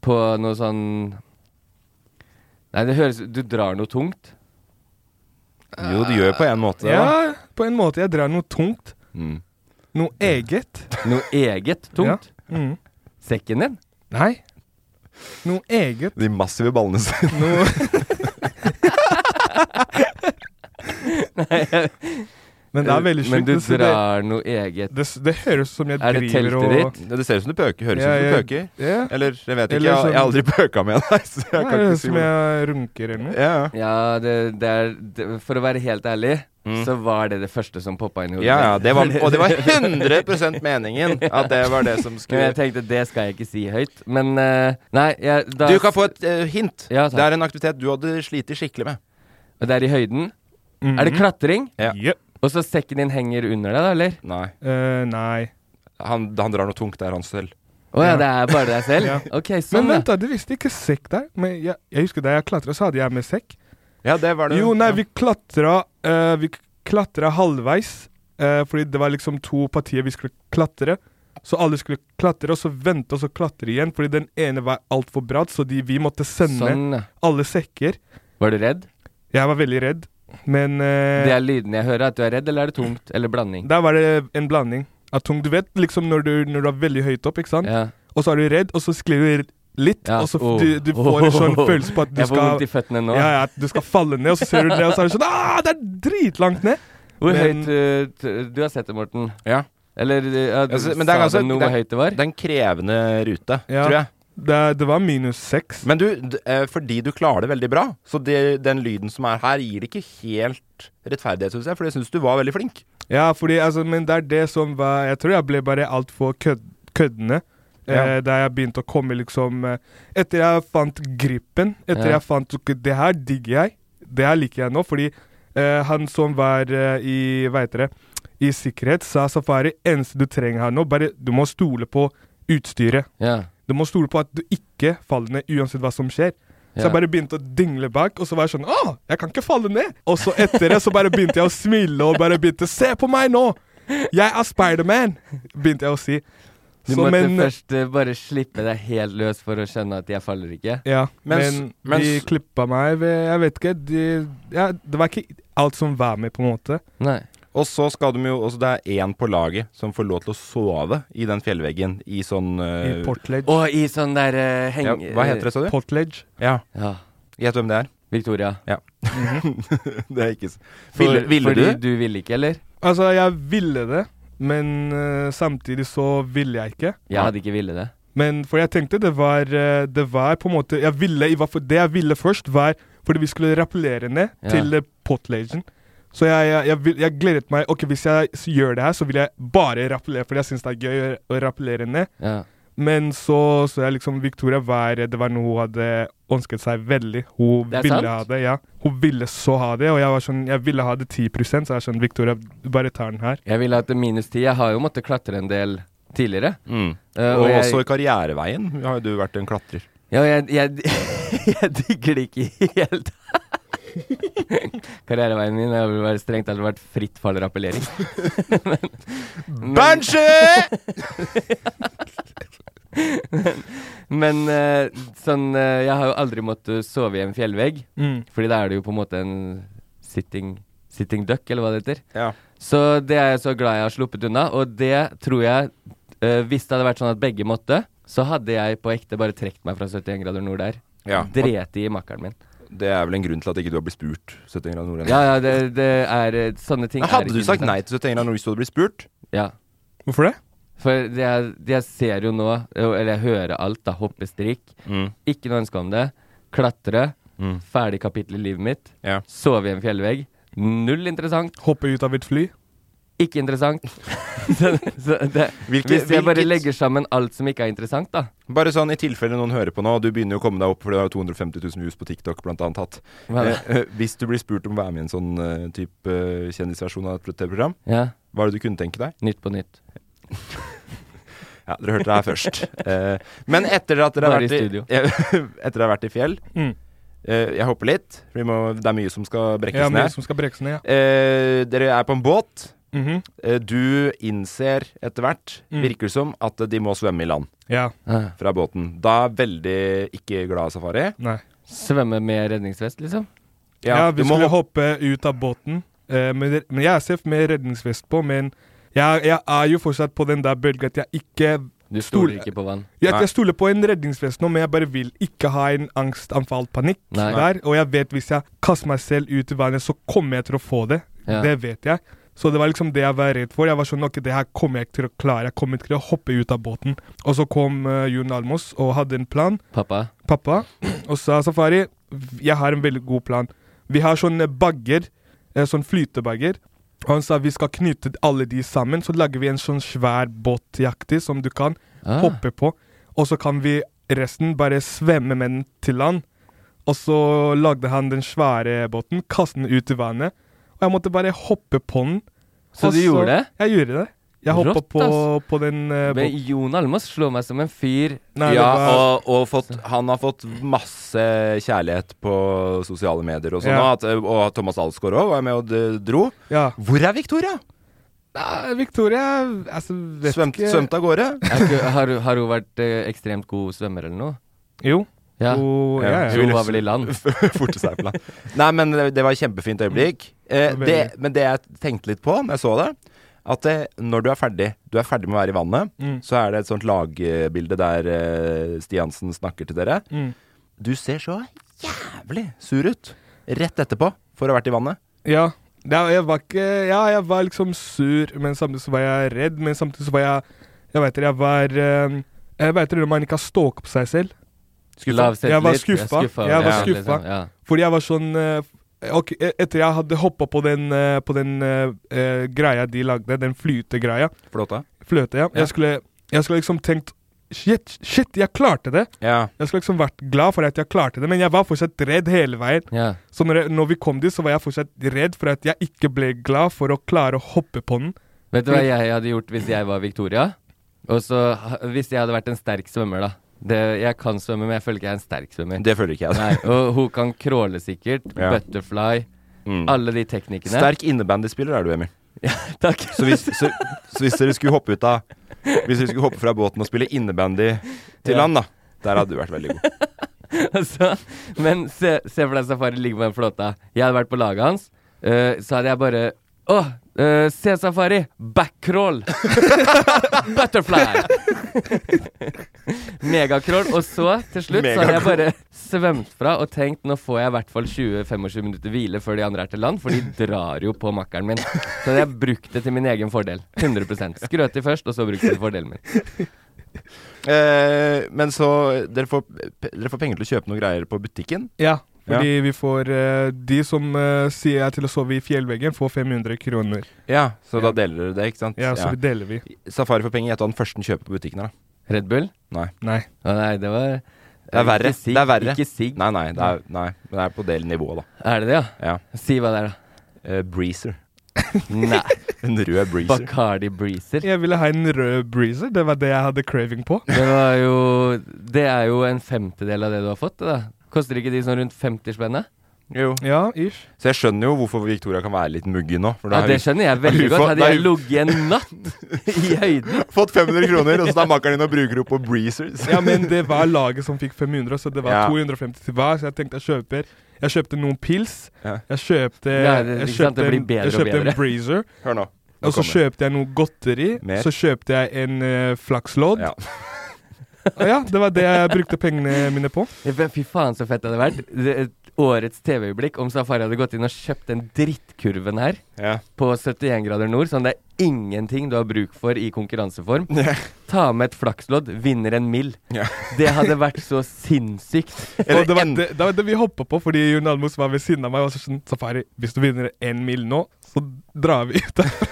På noe sånn Nei, det høres Du drar noe tungt.
Jo, det gjør på en måte det, da.
Ja, på en måte. Jeg drar noe tungt.
Mm.
Noe eget.
Noe eget tungt?
Ja. Mm.
Sekken din?
Nei. Noe eget.
De massive ballene sine.
Noe Men det er veldig sjukt.
Men du
det- så det-
drar noe eget.
Det, det høres ut som jeg
Er det
driver og
teltet ditt?
Ja, Det ser ut som du pøker. Høres
Ja,
ut som du
jeg-
pøker.
ja.
Eller jeg vet ikke,
Eller
jeg, har- jeg har
sånn-
aldri pøka med deg. Så jeg
Ja,
kan ikke
det høres ut
si
som
hvordan-
jeg runker eller noe.
Ja, det, det er det, For å være helt ærlig,
Mm.
så var det det første som poppa inn i hodet.
Ja,
mitt.
ja, det var, og det var 100 meningen at det var det som
Men jeg
skulle
tenkte det skal jeg ikke si høyt. Men eh, nei jeg, da,
Du kan få et eh, hint.
Ja, takk.
det er en aktivitet du hadde slitt skikkelig med.
Det er i høyden. Er det klatring?
Ja.
Og så sekken din henger under deg, da, eller?
Nei.
Eh, nei.
Han, han drar noe tungt der, han selv.
Å ja, det er bare deg selv? Ok, sånn,
Men
ja.
vent, da. Du visste ikke sekk der. Men jeg, jeg husker da jeg klatra, så hadde jeg med sekk.
Ja, det var det
Jo, nei, vi klatra eh, Vi klatra halvveis. eh, fordi det var liksom to partier vi skulle klatre. Så alle skulle klatre, og så vente, og så klatre igjen. Fordi den ene var altfor bratt, så de, vi måtte sende
Sånn, ja.
alle sekker.
Var du redd?
Jeg var veldig redd, men eh,
Det er lyden jeg hører, at du er redd, eller er det tungt? Eller blanding?
Der var det en blanding av tung Du vet liksom når du, når du er veldig høyt opp, ikke sant? Og så er du redd, og så sklir du litt, og så f-
oh.
du, du får en sånn
Oh.
følelse på at du
Jeg får
skal
vondt i føttene nå.
Ja, ja, at du skal falle ned, og så ser du ned, og så er det sånn ah, Det er dritlangt ned!
Hvor
Men-
høyt eh, t- Du har sett det, Morten.
Ja.
Eller eh, ja, du,
Altså, men det er
sa
ganske
de noe
det
hvor
er-
høyt det var?
Det er en krevende rute,
Ja.
tror jeg.
Det, det var minus seks.
Men du, d eh, fordi du klarer det veldig bra, så det, den lyden som er her, gir det ikke helt rettferdighet, syns jeg. For jeg syns du var veldig flink.
Ja, fordi, altså, men det er det som var Jeg tror jeg ble bare altfor kød, køddende. Eh,
Ja.
da jeg begynte å komme liksom eh, Etter jeg fant gripen, etter
Ja.
jeg fant ok, Det her digger jeg. Det her liker jeg nå. Fordi eh, han som var eh, i Hva heter det I sikkerhet, sa Safari eneste du trenger her nå, bare du må stole på utstyret.
Ja.
Du må stole på at du ikke faller ned uansett hva som skjer. Så
Ja.
jeg bare begynte å dingle bak, og så var jeg sånn Å, jeg kan ikke falle ned! Og så etter det så bare begynte jeg å smile og bare begynte Se på meg nå! Jeg er Spiderman! Begynte jeg å si.
Du
Så,
måtte
men-
først eh, bare slippe deg helt løs for å skjønne at jeg faller ikke?
Ja, men, de klippa meg ved Jeg vet ikke. De, ja, det var ikke alt som var med, på en måte.
Og så skal de jo også, Det er én på laget som får lov til å sove i den fjellveggen i sånn eh,
I portledge.
Og i sånn der eh, heng...
ja, Hva heter det, sa du?
Potledge.
Ja.
Ja.
Gjett hvem det er.
Victoria.
Ja. det er ikke så
For-
Ville, ville
fordi
du?
du ville ikke, eller?
Altså, jeg ville det, men eh, samtidig så ville jeg ikke.
Jeg hadde ikke ville det.
Men for jeg tenkte det var, eh, det var på en måte jeg ville, i hvert fall Det jeg ville først, var fordi vi skulle rappellere ned
Ja.
til eh, potlagen. Så jeg, jeg, jeg, vil, jeg gledet meg Ok, hvis jeg s- gjør det her, så vil jeg bare rappellere, fordi jeg syns det er gøy å, å rappellere ned.
Ja.
Men så så jeg liksom Victoria var Det var noe hun hadde ønsket seg veldig. Hun
Det er
ville
sant?
ha det, ja. Hun ville så ha det, og jeg var sånn Jeg ville ha det 10 så jeg er sånn Victoria, bare ta den her.
Jeg ville hatt en minus 10. Jeg har jo måttet klatre en del tidligere. Eh,
Mm. og
jeg-
også i karriereveien har jo du vært en klatrer.
Ja, jeg, jeg, jeg digger det ikke helt. Karriereveien min har vel vært strengt tatt vært fritt fall rappellering. Men- men- men, men eh, sånn eh, Jeg har jo aldri måttet sove i en fjellvegg.
Mm.
Fordi da er det jo på en måte en sitting, sitting duck, eller hva det heter.
Ja.
Så det er jeg så glad jeg har sluppet unna, og det tror jeg eh, Hvis det hadde vært sånn at begge måtte, så hadde jeg på ekte bare trukket meg fra 71 grader nord der.
Ja.
Dreti i makkeren min.
Det er vel en grunn til at ikke du har blitt spurt. 71 grader nord ennå.
Ja, ja, det, det er eh, Sånne ting
Men
er
Hadde
ikke
du sagt
interessant.
nei til 71 grader nord hvis du hadde blitt spurt?
Ja.
Hvorfor det?
For det jeg, det jeg ser jo nå, eh, eller jeg hører alt, da. Hoppestrikk.
Mm.
Ikke noe ønske om det. Klatre. Ferdig kapittel i livet mitt. Sove i en fjellvegg. Null interessant.
Hoppe ut av et fly.
Ikke interessant. så, så det,
Hvilket-
hvis jeg bare
hvilket-
legger sammen alt som ikke er interessant, da.
Bare sånn i tilfelle noen hører på nå, du begynner jo å komme deg opp, for du har jo 250 000 views på TikTok blant annet hatt.
Hva er
Eh,
det?
eh, hvis du blir spurt om å være med i en sånn eh, type eh, kjendisversjon av et TV-program,
Ja.
hva er det du kunne tenke deg?
Nytt på nytt.
Ja, dere hørte det her først. Eh, men etter at dere har
Bare i
vært i,
studio.
etter dere har vært i fjell
Mm.
eh, Jeg hopper litt, for vi må, det er mye som skal brekkes
Ja, mye
ned.
som skal brekkes ned,
Eh, dere er på en båt.
Mhm.
Eh, du innser etter hvert,
Mm.
virker det som, at de må svømme i land
Ja.
Ja.
fra båten. Da er veldig ikke glad safari.
Nei.
Svømme med redningsvest, liksom?
Ja, vi
du må
skulle hoppe ut av båten. eh, men, det- men jeg er safe med redningsvest på, men jeg, jeg er jo fortsatt på den der bølga at jeg ikke
Du stoler ikke på vann?
Jeg, jeg stoler på en redningsvest nå, men jeg bare vil ikke ha en angstanfall, panikk
Nei.
der. Og jeg vet hvis jeg kaster meg selv ut i vannet, så kommer jeg til å få det.
Ja.
Det vet jeg. Så det var liksom det jeg var redd for. Jeg var sånn, ok, det her kommer jeg ikke til å klare. Jeg kommer ikke til å hoppe ut av båten. Og så kom eh, Jon Almos og hadde en plan
Pappa?
pappa og sa Safari, jeg har en veldig god plan. Vi har sånne bagger, eh, sånn flytebagger. Og han sa vi skal knytte alle de sammen, så lager vi en sånn svær båtjaktig som du kan
Ah.
hoppe på. Og så kan vi resten bare svømme med den til land. Og så lagde han den svære båten, kastet den ut i vannet. Og jeg måtte bare hoppe på den.
Så
Og
du gjorde det?
Jeg gjorde det. Jeg hoppa
Rått,
på,
ass.
på den eh,
Men
båten.
Jon Almaas slår meg som en fyr
Nei,
ja,
det var-
og, og fått, han har fått masse kjærlighet på sosiale medier og sånn. og
Ja.
at- Og Thomas Alsgaard òg var med og d- dro.
Ja.
Hvor er Victoria?
Nei, Victoria altså, vet
Svømt,
ikke.
svømt av gårde?
Er ikke- har, har hun vært eh, ekstremt god svømmer eller noe?
Jo.
Ja.
Hun- Oh, ja, ja.
Så hun var vel i land?
Forte seg på land. Nei, men det, det var et kjempefint øyeblikk. Eh,
Det var
det, men det jeg tenkte litt på når jeg så det, at det, når du er ferdig Du er ferdig med å være i vannet,
Mm.
så er det et sånt lagbilde der eh, Stiansen snakker til dere.
Mm.
Du ser så jævlig sur ut rett etterpå for å ha vært i vannet.
Ja. ja, jeg var ikke Ja, jeg var liksom sur, men samtidig så var jeg redd. Men samtidig så var jeg Jeg vet det, jeg var eh, Jeg vet det når man ikke har ståka på seg selv.
Skuffa. Lav selvtillit.
Jeg var
Ja,
skuffa.
skuffa,
Jeg var
ja,
skuffa.
liksom, ja.
Fordi jeg var sånn eh, Ok, e- etter jeg hadde hoppa på den, eh, på den eh, eh, greia de lagde, den flytegreia
Flåta?
Fløte, ja.
Ja.
Jeg, skulle, jeg skulle liksom tenkt Shit, shit, jeg klarte det!
Ja.
Jeg skulle liksom vært glad for at jeg klarte det, men jeg var fortsatt redd hele veien.
Ja.
Så når, jeg, når vi kom dit, så var jeg fortsatt redd for at jeg ikke ble glad for å klare å hoppe på den.
Vet du hva jeg hadde gjort hvis jeg var Victoria? Og så ha- Hvis jeg hadde vært en sterk svømmer, da. Det, jeg kan svømme, men jeg føler ikke jeg er en sterk svømmer.
Det føler ikke jeg. altså.
Nei, og hun kan crawle sikkert.
Ja.
Butterfly.
Mm.
Alle de teknikkene.
Sterk innebandyspiller er du, Emil.
takk.
Så hvis, så, så hvis dere skulle hoppe ut av Hvis dere skulle hoppe fra båten og spille innebandy til
Ja.
land, da. Der hadde du vært veldig god.
altså, men se, se for deg Safari ligger på den flåta. Jeg hadde vært på laget hans. eh, så hadde jeg bare Å, eh, se Safari! Backcrawl! Butterfly! Megacrawl. Og så, til slutt, så hadde jeg bare svømt fra og tenkt nå får jeg i hvert fall 20-25 minutter hvile før de andre er til land, for de drar jo på makkeren min. Så hadde jeg brukt det til min egen fordel. 100 Skrøt de først, og så brukte de fordelen min.
Eh, men så dere får, dere får penger til å kjøpe noen greier på butikken.
Ja, fordi
Ja.
vi får eh, De som eh, sier jeg til å sove i fjellveggen, får 500 kroner.
Ja, så da deler dere det, ikke sant?
Ja, så vi deler vi.
Safari for penger, gjett hva den første kjøper på butikken her, da.
Red Bull?
Nei.
Nei.
nei, det var
Det er verre.
Ikke sigg,
det er verre.
Ikke sigg.
Nei, nei, det er, nei. men Det er på del nivå, da.
Er det det,
ja?
Si hva det er,
da. Eh, breezer.
Nei.
En rød breezer.
Bacardi Breezer.
Jeg ville ha en rød breezer. Det var det jeg hadde craving på.
Det var jo Det er jo en femtedel av det du har fått, det da. Koster ikke de sånn rundt 50 spenn, da?
Jo.
Ja, ish.
Så jeg skjønner jo hvorfor Victoria kan være litt muggy nå. for da
Ja,
har
det
hun-
skjønner jeg
da har
veldig
hun
godt.
fått- da
Hadde
har
jeg
hun
ligget en natt i høyden
Fått 500 kroner, og så tar makkeren din og bruker opp på breezers.
Ja, men det var laget som fikk 500, så det var
Ja.
250 til hver. Så jeg tenkte jeg kjøper Jeg kjøpte noen pils.
Ja.
Jeg kjøpte
Ja, det-
Jeg
ikke sant,
kjøpte,
det blir
en,
bedre
jeg
og
kjøpte en
bedre.
breezer.
Hør nå. Nå
Og så
kommer
kjøpte jeg noe godteri.
Mer.
Så kjøpte jeg en eh, flakslodd. Ja. Og ja, det var det jeg brukte pengene mine på.
Ja, men Fy faen, så fett det hadde vært. Det- Årets TV-øyeblikk om Safari hadde gått inn og kjøpt den drittkurven her på 71 grader nord, sånn det er ingenting du har bruk for i konkurranseform.
Ja.
Ta med et flakslodd, vinner en mill.
Ja.
Det hadde vært så sinnssykt.
Og det var det, det var det vi hoppa på, fordi Jon Almos var ved siden av meg og sa sånn Safari, hvis du vinner én mil nå, så drar vi ut derfra.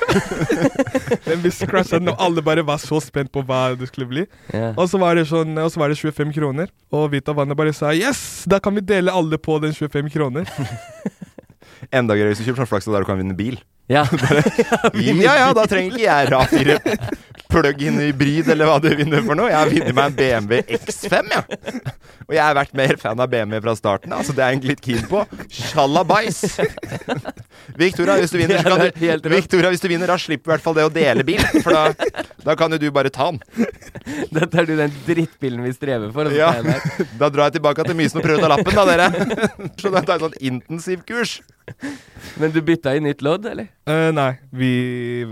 Men vi scratcha den, og alle bare var så spent på hva det skulle bli.
Ja.
Og så var det sånn, og så var det 25 kroner, og Vita Vannet bare sa yes, da kan vi dele alle på den 25 kroner.
Enda gøyere hvis du kjøper sånn flaks der du kan vinne bil.
Ja.
ja, ja, da trenger ikke jeg RA4 plug-in hybrid eller hva du vinner for noe. Jeg har vunnet meg en BMW X5, ja. Og jeg har vært mer fan av BMW fra starten av, så det er jeg egentlig litt keen på. Sjalabais! Victoria, hvis du vinner, så
Ja,
kan
det er helt
du
rått.
Victoria, hvis du vinner, da slipper vi i hvert fall det å dele bil, for da, da kan jo du bare ta den.
Dette er du den drittbilen vi strever for. og så
Ja.
tar jeg den her.
Da drar jeg tilbake til Mysen og prøver å ta lappen, da, dere. Så da tar jeg sånn intensiv kurs.
Men du bytta i nytt lodd, eller?
Eh, nei, vi,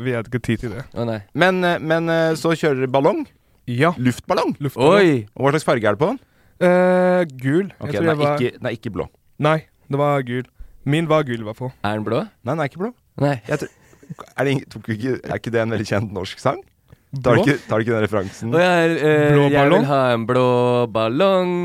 vi hadde ikke tid til det.
Å nei.
Men, eh, men eh, så kjører dere ballong?
Ja.
Luftballong?
Luftballong. Oi.
Og hva slags farge er det på den?
Eh, gul.
Ok,
tror
den er,
var-
ikke, den er ikke blå.
Nei, det var gul. Min var gul, i hvert fall.
Er den blå?
Nei, den er ikke blå.
Nei.
Jeg tror, er, det, ing- tok vi ikke, er ikke det en veldig kjent norsk sang? Tar
Blå?
du ikke, tar du ikke den referansen?
Og jeg, eh,
Blå
jeg
ballong?
vil ha en blå ballong.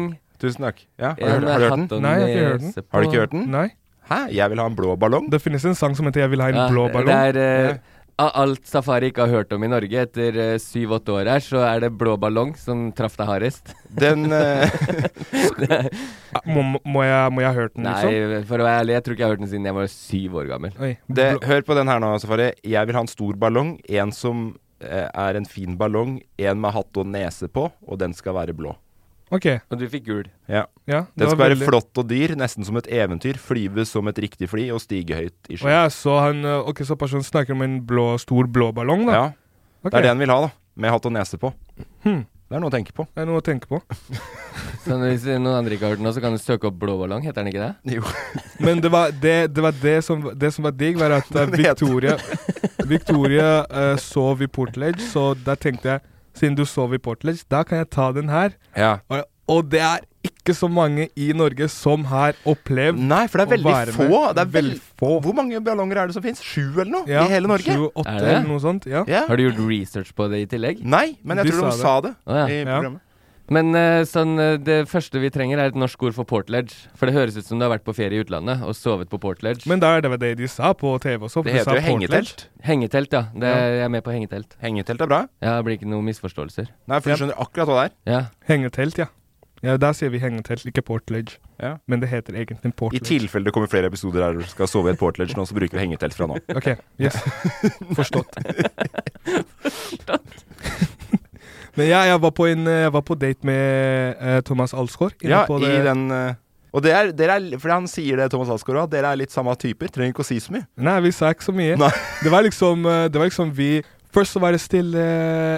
Tusen takk. Ja,
Ja,
har, du, har du hørt
hatt og
den?
Nei, jeg har ikke hørt
nese
den.
på.
Har du ikke hørt den?
Nei.
Hæ? Jeg vil ha en blå ballong?
Det finnes en sang som heter 'Jeg vil ha en
Ja,
blå ballong'.
Det er eh, av alt Safari ikke har hørt om i Norge etter eh, syv-åtte år her, så er det blå ballong som traff deg hardest.
Den eh,
må, må, jeg, må jeg ha hørt den, liksom?
Nei, for å være ærlig, jeg tror ikke jeg har hørt den siden jeg var syv år gammel.
Oi.
Det, hør på den her nå, Safari. Jeg vil ha en stor ballong. En som eh, er en fin ballong. En med hatt og nese på, og den skal være blå.
Ok.
Og du fikk gul.
Ja.
Ja, det
den skal
var
være
veldig-
flott og dyr, nesten som et eventyr. Flyve som et riktig fly og stige høyt i
Og
sjøen.
jeg så han eh, Ok, så personen snakker om en blå, stor blå ballong, sånn da.
Ja.
Ok.
Det er det han vil ha, da. Med hatt og nese på.
Hmm.
Det er noe å tenke på.
Det er noe å tenke på.
Så Sånn, hvis noen andre ikke har hørt den nå, så kan du søke opp blå ballong, heter den ikke det?
Jo.
Men det var det, det, var det, som, det som var digg, var at eh,
Den heter-
Victoria Victoria eh, sov i Portledge, så da tenkte jeg siden du sov i Portledge, da kan jeg ta den her.
Ja.
Og, og det er ikke så mange i Norge som har opplevd
Nei, for det er
å
veldig
være
få.
med.
Det er veld...
Veldig få.
Hvor mange ballonger er det som fins? Sju eller noe?
Ja,
I hele Norge?
sju, åtte
Er det?
eller noe sånt. Ja.
Ja.
Har du gjort research på det i tillegg?
Nei, men jeg
De
tror de sa
sa
det,
det. Å, ja.
i
Ja.
programmet.
Men eh, sånn, eh, det første vi trenger, er et norsk ord for portledge. For det høres ut som du har vært på ferie i utlandet og sovet på portledge.
Men det er det det de sa på TV også. for
Det
de sa
heter jo
Portledge.
hengetelt.
Hengetelt, ja. Det,
Ja.
Jeg er med på hengetelt.
Hengetelt er bra.
Ja, det blir ikke noen misforståelser.
Nei, for du skjønner akkurat hva det er.
Ja.
Hengetelt, ja. Ja, Der sier vi hengetelt, ikke portledge.
Ja.
Men det heter egentlig
I
portledge.
tilfelle det kommer flere episoder der du skal sove i et portledge nå, så bruker vi hengetelt fra nå.
Ok, yes. Forstått. Men ja, jeg var på, en, eh, jeg var på date med eh, Thomas Alsgaard. inne
Ja,
på
i den eh, Og det er, dere er Fordi han sier det, Thomas Alsgaard, at dere er litt samme typer. Trenger ikke å si så mye.
Nei, vi sa ikke så mye. Det var liksom, eh, det var liksom vi Først så var det stille,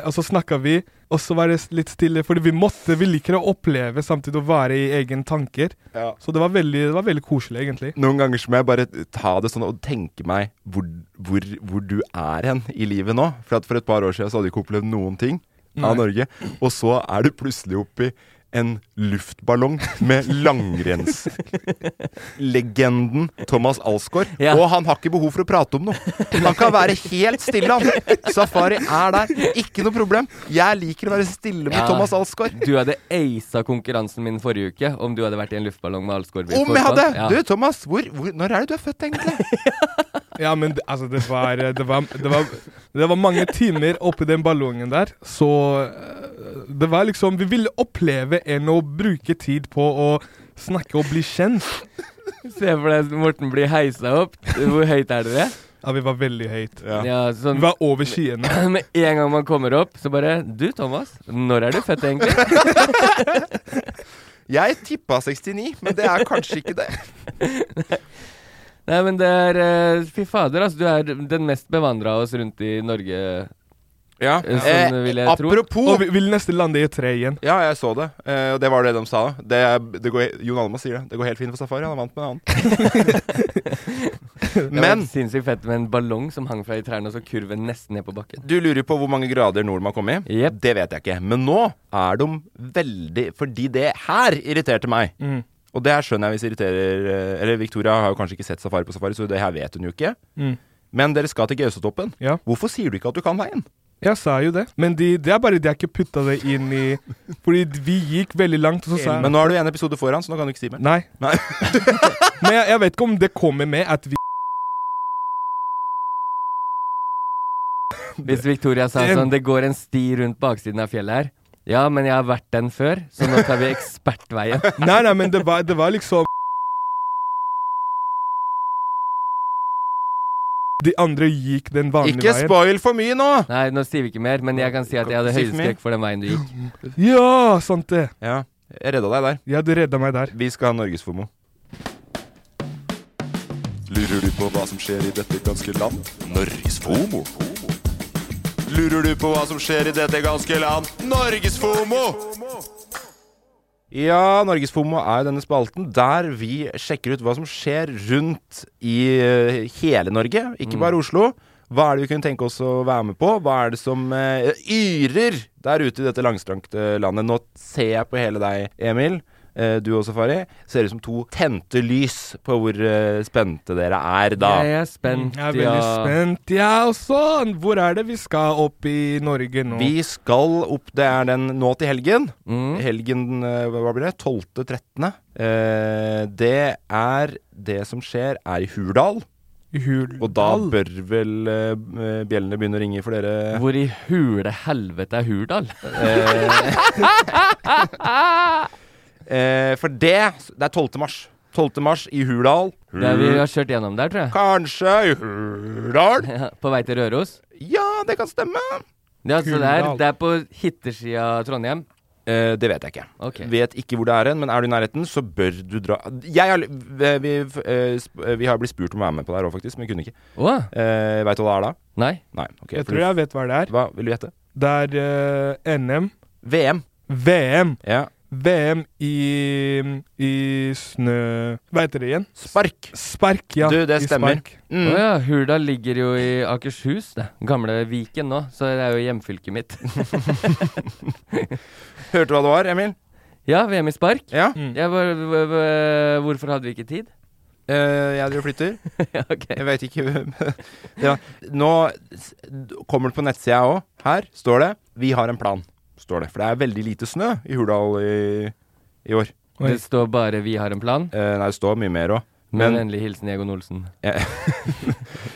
og så snakka vi, og så var det s- litt stille. Fordi vi måtte, vi liker å oppleve samtidig å være i egne tanker.
Ja.
Så det var veldig, det var veldig koselig, egentlig.
Noen ganger så må jeg bare ta det sånn og tenke meg hvor, hvor, hvor du er hen i livet nå. For at for et par år siden så hadde du ikke opplevd noen ting av
Nei.
Norge. Og så er du plutselig oppi en luftballong med langrennslegenden Thomas Alsgaard. Og han har ikke behov for å prate om noe. Han kan være helt stille, han. Safari er der. Ikke noe problem. Jeg liker å være stille med
Ja.
Thomas Alsgaard.
Du hadde aisa konkurransen min forrige uke om du hadde vært i en luftballong med Alsgaard. i
Om jeg
forkant.
hadde!
Ja.
Du, Thomas, hvor, hvor, når er det du er født, egentlig?
Ja, men det- altså, det var Det var, det var, det var mange timer oppi den ballongen der, så eh, Det var liksom Vi ville oppleve enn å bruke tid på å snakke og bli kjent.
Se for deg Morten blir heisa opp. Hvor høyt er dere?
Ja, vi var veldig høyt.
Ja, sånn-
Vi var over skyene.
Med en gang man kommer opp, så bare Du, Thomas, når er du født, egentlig?
Jeg tippa 69, men det er kanskje ikke det.
Nei, men det er eh, Fy fader, altså. Du er den mest bevandra av oss rundt i Norge.
Ja.
eh, Sånn vil jeg tro.
Og vi vil nesten lande i et tre igjen.
Ja, jeg så det. Eh, Og det var det de sa. Det, er- det går, he- Jon Almaas sier det. Det går helt fint for Safari. Han er vant med en annen.
Det var
Men
sinnssykt fett med en ballong som hang fra i trærne, og så kurven nesten ned på bakken.
du lurer på hvor mange grader Norden har kommet i? Det vet jeg ikke. Men nå er de veldig Fordi det her irriterte meg.
Mm.
Og det her skjønner jeg hvis irriterer eh, Eller Victoria har jo kanskje ikke sett Safari på Safari, så det her vet hun jo ikke.
Mm.
Men dere skal til Gausetoppen.
Ja.
Hvorfor sier du ikke at du kan veien?
Jeg sa jo det, men de, det er bare de har ikke putta det inn i Fordi vi gikk veldig langt, og så sa jeg
Men nå er du en episode foran, så nå kan du ikke si mer.
Nei. Men jeg, jeg vet ikke om det kommer med at vi
Hvis Victoria sa
Det-
sånn Det går en sti rundt baksiden av fjellet her. Ja, men jeg har vært den før, så nå tar vi ekspertveien.
Nei, nei, men det var, det var liksom De andre gikk den vanlige
Ikke
veien.
spoil for mye nå! Nei, nå sier vi ikke mer, men jeg kan si at jeg hadde
Si for mye.
høydeskrekk for den veien du gikk.
Ja, sant det.
Ja, jeg redda deg der.
Ja, du redda meg der.
Vi skal ha Norgesfomo.
Lurer du på hva som skjer i dette ganske land? Norges FOMO.
Lurer du på hva som skjer i dette ganske land? Norgesfomo!
Ja, Norgesfomo er jo denne spalten der vi sjekker ut hva som skjer rundt i eh, hele Norge, ikke bare Oslo. Hva er det vi kunne tenke oss å være med på? Hva er det som eh, yrer der ute i dette langstrakte landet? Nå ser jeg på hele deg, Emil. Eh, du og Safari. Ser ut som to tente lys på hvor eh, spente dere er da.
Jeg er spent,
Jeg er veldig spent, jeg ja, også. Hvor er det vi skal opp i Norge nå?
Vi skal opp Det er den nå til helgen.
Mm.
Helgen eh, hva blir det? 12.13. Eh, det er Det som skjer, er i Hurdal.
I Hurdal.
Og da bør vel eh, bjellene begynne å ringe for dere.
Hvor i hule helvete er Hurdal?
Eh, for det Det er 12. mars. 12. mars i Hurdal.
Det er vi har kjørt gjennom der, tror jeg.
Kanskje i Hurdal?
Ja, på vei til Røros?
Ja, det kan stemme.
Ja, så det er, altså
Hurdal.
det er på hittersida av Trondheim.
Eh, det vet jeg ikke. Vet ikke hvor det er hen, men er du i nærheten, så bør du dra Jeg har, vi, vi, eh, sp- vi har blitt spurt om å være med på det her òg, faktisk, men vi kunne ikke.
Åh.
Eh, Veit du hva det er da?
Nei.
Nei ok,
jeg
for
tror
du-
jeg vet hva det er.
Hva vil du gjette?
Det er eh, NM.
VM.
VM.
Ja.
VM i, i snø... Hva heter det igjen?
Spark.
Spark, ja.
Du, det
I
stemmer.
spark.
Å ja, Hurdal ligger jo i Akershus, det. Gamle Viken nå, så det er jo hjemfylket mitt.
Hørte du hva det var, Emil?
Ja, VM i spark.
Ja.
Jeg var, v-
Eh,
v- hvorfor hadde vi ikke tid?
Eh, jeg driver og flytter. Jeg veit ikke hvem ja. Nå s- d- kommer det på nettsida òg. Her står det 'Vi har en plan'. Står det. For det er veldig lite snø i Hurdal i, i år. Eh,
Oi. Det står bare 'Vi har en plan'?
nei, det står mye mer òg.
Med vennlig hilsen Egon Olsen.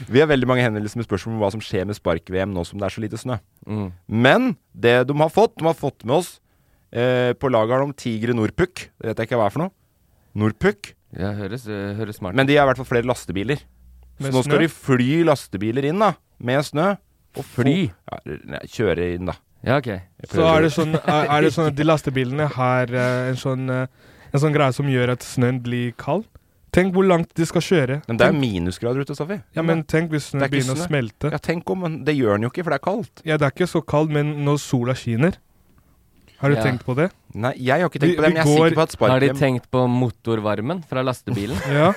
Vi har veldig mange henvendelser med spørsmål om hva som skjer med spark-VM nå som det er så lite snø.
Mm.
Men det de har fått, de har fått med oss eh, På laget har de Tigre Norpuk. Det vet jeg ikke hva er for noe. Norpuk.
Ja, høres, eh, høres smart ut.
Men de har i hvert fall flere lastebiler.
Med
så nå
snø?
skal de fly lastebiler inn, da. Med snø. Og
Fly?
få- Ja, nei, kjøre inn, da.
Ja, ok.
Jeg
Så
prøver
er det,
å-
sånn, er, er det sånn at de lastebilene har eh, en sånn eh, En sånn greie som gjør at snøen blir kald? Tenk hvor langt de skal kjøre.
Men det er
Tenk-
minusgrader ute, Safi.
Ja, men tenk hvis snøen
Det er ikke
begynner å
snø.
smelte.
Ja, tenk om, men det gjør den jo ikke, for det er kaldt.
Ja, det er ikke så kaldt, men når sola skinner Har du
Ja.
tenkt på det?
Nei, jeg har ikke tenkt
Vi-
på det,
vi
men jeg er
går-
sikker på at
Har de
spark-VM
tenkt på motorvarmen fra lastebilen?
Ja.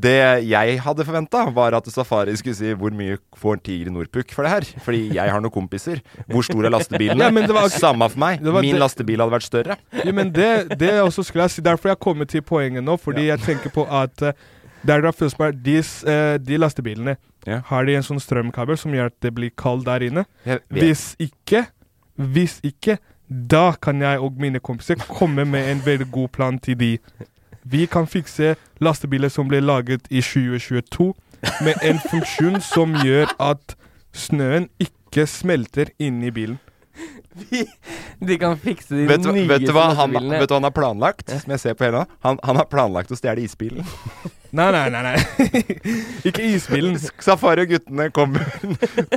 Det jeg hadde forventa, var at Safari skulle si 'hvor mye får en tiger i Norpuk for det her?' Fordi jeg har noen kompiser. Hvor stor er lastebilen?
Ja, men det var ikke-
Samme for meg.
Det var
Min
det-
lastebil hadde vært større.
Ja, men det, det er også skulle jeg si. Derfor jeg kommer til poenget nå. Fordi jeg tenker på at eh, det er da Fylsberg, de, s- eh, de lastebilene Har de en sånn strømkabel som gjør at det blir kaldt der inne?
Jeg vet.
Hvis ikke, hvis ikke, da kan jeg og mine kompiser komme med en veldig god plan til de. Vi kan fikse lastebiler som ble laget i 2022, med en funksjon som gjør at snøen ikke smelter inni bilen.
De kan fikse de
Vet du,
nye
vet, du hva han,
lastebilene.
vet du hva han har planlagt? Som jeg ser på hele nå? Han, han har planlagt å stjele isbilen.
Nei, nei, nei. nei. ikke isbilen.
Safari og guttene kommer.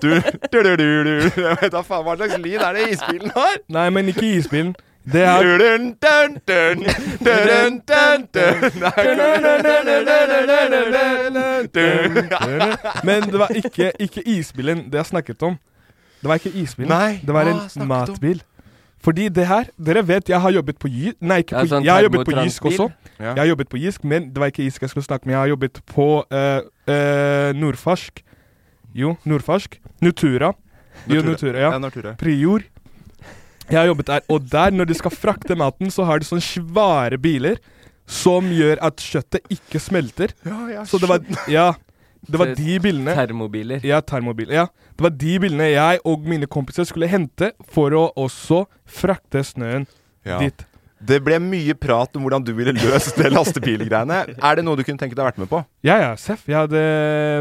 Du, du, du, du, du. Jeg vet da faen hva slags lyd er det isbilen har?
Nei, men ikke isbilen. Det er
Dun, dun, dun, dun, dun, dun.
Men det var ikke, ikke isbilen det jeg snakket om. Det var ikke isbilen.
Nei,
det var
hva
en
snakket du om?
matbil. Fordi det her Dere vet jeg har jobbet på Jysk Nei, ikke
Ja,
på,
sånn
jeg har jobbet på
termotransbil.
Jysk også.
Ja.
Jeg har jobbet på Jysk, men det var ikke Jysk jeg skulle snakke med. Jeg har jobbet på eh, eh, Nordfarsk. Jo, Nordfarsk. Nutura. Jo,
Nortura.
Nutura,
Ja,
ja.
Nortura.
Prior. Jeg har jobbet der, og der, når de skal frakte maten, så har de sånne svære biler som gjør at kjøttet ikke smelter.
Ja, jeg
så det var, ja, det var
Så
de bilene
Termobiler.
Ja, termobiler. Ja. Det var de bilene jeg og mine kompiser skulle hente for å også frakte snøen
Ja.
dit.
Det ble mye prat om hvordan du ville løst det lastebilgreiene. Er det noe du kunne tenke deg å vært med på?
Ja, ja, seff. Jeg hadde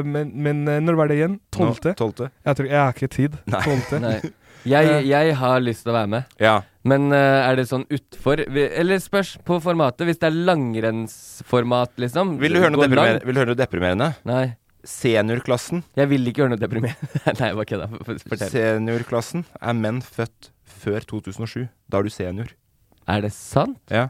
men, men eh, når var det igjen?
Nå,
Tolvte?
tolvte.
Jeg, tror, jeg har ikke tid.
Nei.
Tolvte.
Nei. Jeg, jeg har lyst til å være med.
Ja.
Men eh, er det sånn utfor vi- Eller spørs på formatet. Hvis det er langrennsformat, liksom.
Vil du høre noe,
gå lang-
deprimer vil du høre noe deprimerende?
Nei.
Seniorklassen
Jeg vil ikke høre noe deprimerende. Nei, jeg bare kødda. F- f- Fortell.
Seniorklassen er menn født før 2007. Da er du senior.
Er det sant?
Ja.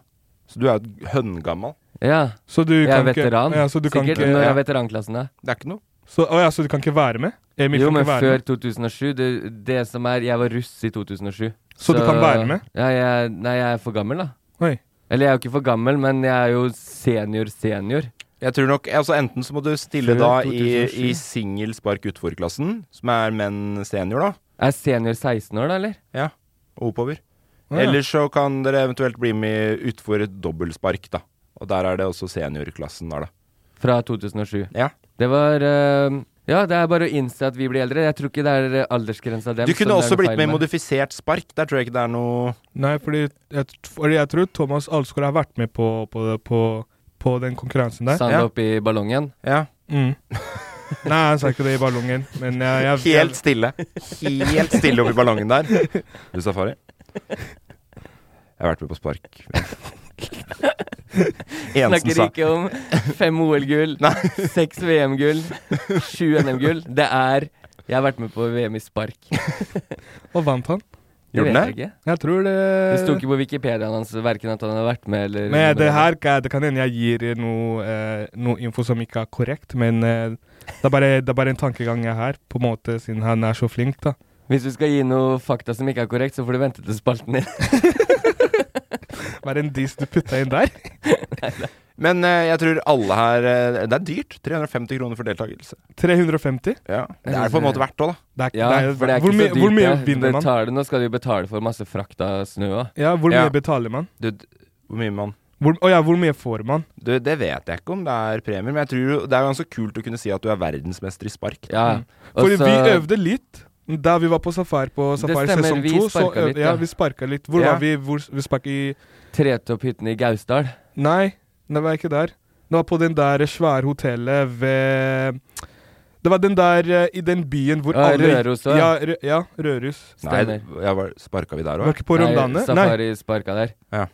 Så du er jo høngammal.
Ja.
Så du
jeg
kan
er
ikke-
veteran.
ja, så du kan
Sikkert.
ikke-
Når
ja.
er veteranklassen, da?
Det er ikke noe.
Så, å, ja, så du kan ikke være med? Emil
Jo,
kan
men
ikke være
før
med.
2007. Det, det som er Jeg var russ i 2007.
Så du kan være med?
Ja, jeg, nei, jeg er for gammel, da.
Oi.
Eller jeg er jo ikke for gammel, men jeg er jo senior-senior.
Jeg tror nok, altså Enten så må du stille
Før
da i,
2007.
i singel spark utfor-klassen, som er menn senior, da.
Er senior 16 år, da, eller?
Ja. Og oppover.
Å, ja.
Eller så kan dere eventuelt bli med utfor et dobbeltspark, da. Og der er det også seniorklassen, da. da.
Fra 2007.
Ja.
Det var eh, Ja, det er bare å innse at vi blir eldre. Jeg tror ikke det er eh, aldersgrensa dem.
Du
som
kunne
det er
også
noe
blitt
feil
med i modifisert spark. Der tror jeg ikke det er noe
Nei, fordi jeg, fordi jeg tror Thomas Alsgaard har vært med på, på, på, på den konkurransen der.
Sand opp i ballongen.
Ja.
Mm. Nei, han sa ikke det i ballongen, men jeg, jeg, jeg
Helt stille. Helt stille oppi ballongen der. Du, Safari. Jeg har vært med på spark. Ensen
Snakker
sa
ikke om fem OL-gull, seks VM-gull, sju NM-gull. Det er Jeg har vært med på VM i spark.
Og vant han?
Det
Gjorde
vet jeg
den det?
ikke.
Jeg tror det
Det sto ikke på Wikipediaen hans verken at han har vært med eller
Men det her kan- det kan hende jeg gir noe, eh, noe info som ikke er korrekt, men eh, det, er bare, det er bare en tankegang jeg har, på en måte, siden han er så flink, da.
Hvis du skal gi noe fakta som ikke er korrekt, så får du vente til spalten din.
Var det en diss du putta inn der?
Men eh, jeg tror alle her eh, Det er dyrt. 350 kroner for deltakelse.
350?
Ja. Det er på en måte verdt òg, da.
Det er,
Ja,
det er,
for det er
hvor,
ikke
mye-
så dyrt.
hvor mye
det.
vinner man?
Betaler, nå skal du jo betale for masse frakt av snø òg.
Ja, hvor
Ja.
mye betaler man?
Du, d- hvor mye man
Hvor, å ja, hvor mye får man?
du, Det vet jeg ikke om det er premier, men jeg tror jo- det er ganske kult å kunne si at du er verdensmester i spark.
Ja. Og
Mm. Fordi
så-
vi øvde litt da vi var på safari på Safari
stemmer,
sesong
vi
to. Så
sparka
øvde,
litt,
ja.
ja.
vi sparka litt. Hvor
Ja.
var vi? Hvor, vi sparka i
Tretopphytten i Gausdal.
Nei, det var ikke der. Det var på den der svære hotellet ved Det var den der eh, i den byen hvor
Ja,
alle
Røros også,
ja.
ja.
Rø, ja, Røros.
Nei,
Stemmer.
d- jeg var, sparka vi der
Var
òg?
ikke på Rondane? Nei.
Safari sparka der.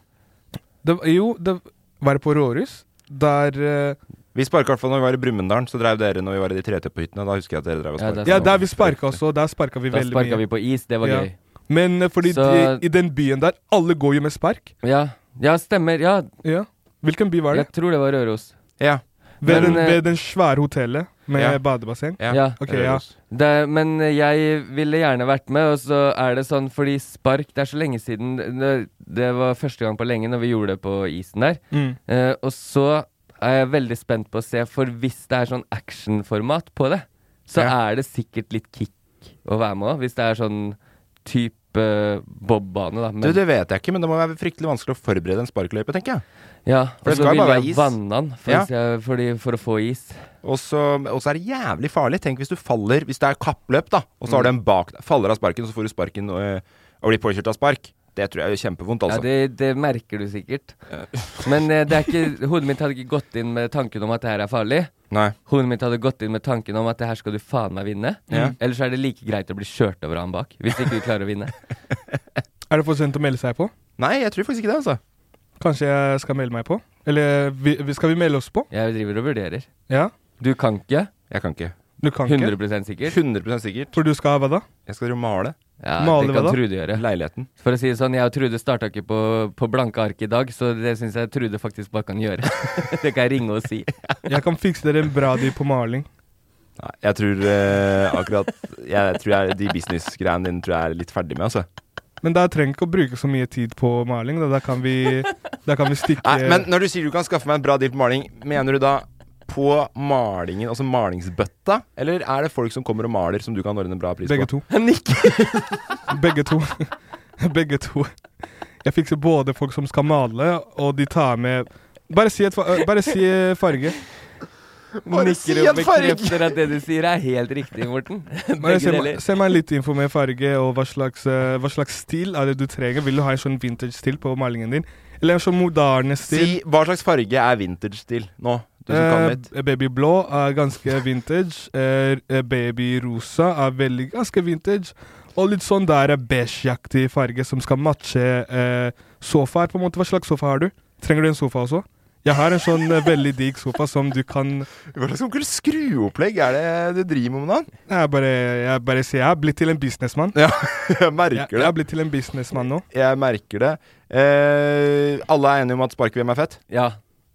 Det, var- jo, det var det på Røros? Der eh,
Vi sparka i hvert fall når vi var i Brumunddal. Så drev dere når vi var i de tretepphyttene. Da husker jeg at dere drev og
Ja,
sparka.
det er sånn
Ja, der vi sparka også. Der sparka vi
Da
veldig
sparka
mye.
vi på is, det var
Ja.
gøy.
Men eh, fordi
Så-
de, i den byen der, alle går jo med spark.
Ja. ja, stemmer. Ja,
Ja. Hvilken by var det?
jeg tror det var Røros.
Ja.
Ved,
Men,
den,
eh,
ved den svære hotellet med
Ja.
badebasseng?
Ja.
Ja.
Ok, ja.
Røros.
Det, men jeg ville gjerne vært med, og så er det sånn fordi spark Det er så lenge siden. Det, det var første gang på lenge når vi gjorde det på isen der.
Mm.
Eh, og så er jeg veldig spent på å se, for hvis det er sånn actionformat på det, så er det sikkert litt kick å være med òg. Hvis det er sånn type eh, bobbane, da.
du, det vet jeg ikke, men det må være fryktelig vanskelig å forberede en sparkeløype, tenker jeg.
Ja,
For det
og så
skal jo
ville
bare være
jeg
is.
vanne den for,
Ja.
hvis jeg, fordi, for å få is.
Og så, og så er det jævlig farlig. Tenk hvis du faller Hvis det er kappløp, da, og så har du en bak deg, faller av sparken, og så får du sparken og, og blir påkjørt av spark. Det tror jeg er kjempevondt,
Ja,
altså.
det, det merker du sikkert. Men eh, det er ikke, hodet mitt hadde ikke gått inn med tanken om at det her er farlig.
Nei.
Hodet mitt hadde gått inn med tanken om at det her skal du faen meg vinne.
Ja.
Ellers er det like greit å bli kjørt over av han bak, hvis ikke du klarer å vinne.
Er det for sent å melde seg på?
Nei, jeg tror faktisk ikke det, altså.
Kanskje jeg skal melde meg på? Eller vi, vi- skal vi melde oss på?
Jeg driver og vurderer.
Ja.
Du kan ikke?
Jeg kan ikke.
Du kan ikke?
100 sikker?
100 sikkert.
For du skal hva da?
Jeg skal jo male.
Ja,
Male
det
hva
kan
da?
Trude gjøre.
Leiligheten.
For å si det sånn, jeg og Trude starta ikke på, på blanke ark i dag, så det syns jeg Trude faktisk bare kan gjøre. det kan jeg ringe og si.
Jeg kan fikse dere en bra deal på maling.
Nei, jeg tror eh, akkurat Jeg tror jeg, De businessgreiene dine tror jeg er litt ferdig med, altså.
Men da trenger jeg ikke å bruke så mye tid på maling. Da, da, kan, vi, da kan vi stikke
Nei, men når du sier du kan skaffe meg en bra deal på maling, mener du da på malingen, altså malingsbøtta? Eller er det folk som kommer og maler, som du kan ordne en bra pris
Begge
på?
to. Begge to. Begge to. Jeg fikser både folk som skal male, og de tar med Bare si, et, fa- øh, bare si farge.
Nikker og bekrefter at det du sier er helt riktig, Morten.
Bare
Begge
se, meg-
deler.
se meg litt info med farge, og hva slags, eh, hva slags stil er det du trenger. Vil du ha en sånn vintage-stil på malingen din? Eller en sånn moderne stil?
Si hva slags farge er vintage-stil nå? Du som kan litt.
Eh, babyblå er ganske vintage. Eh, eh, babyrosa er veldig ganske vintage. Og litt sånn der eh, beigeaktig farge som skal matche eh, sofaer, på en måte. Hva slags sofa har du? Trenger du en sofa også? Jeg har en sånn eh, veldig digg sofa som du kan
Hva slags onkel skruopplegg er det du driver med om dagen?
Jeg bare, jeg bare sier jeg har blitt til en businessmann.
Ja, jeg merker
jeg,
det.
Jeg har blitt til en businessmann nå.
Jeg merker det. Eh, alle er enige om at spark-VM er fett?
Ja.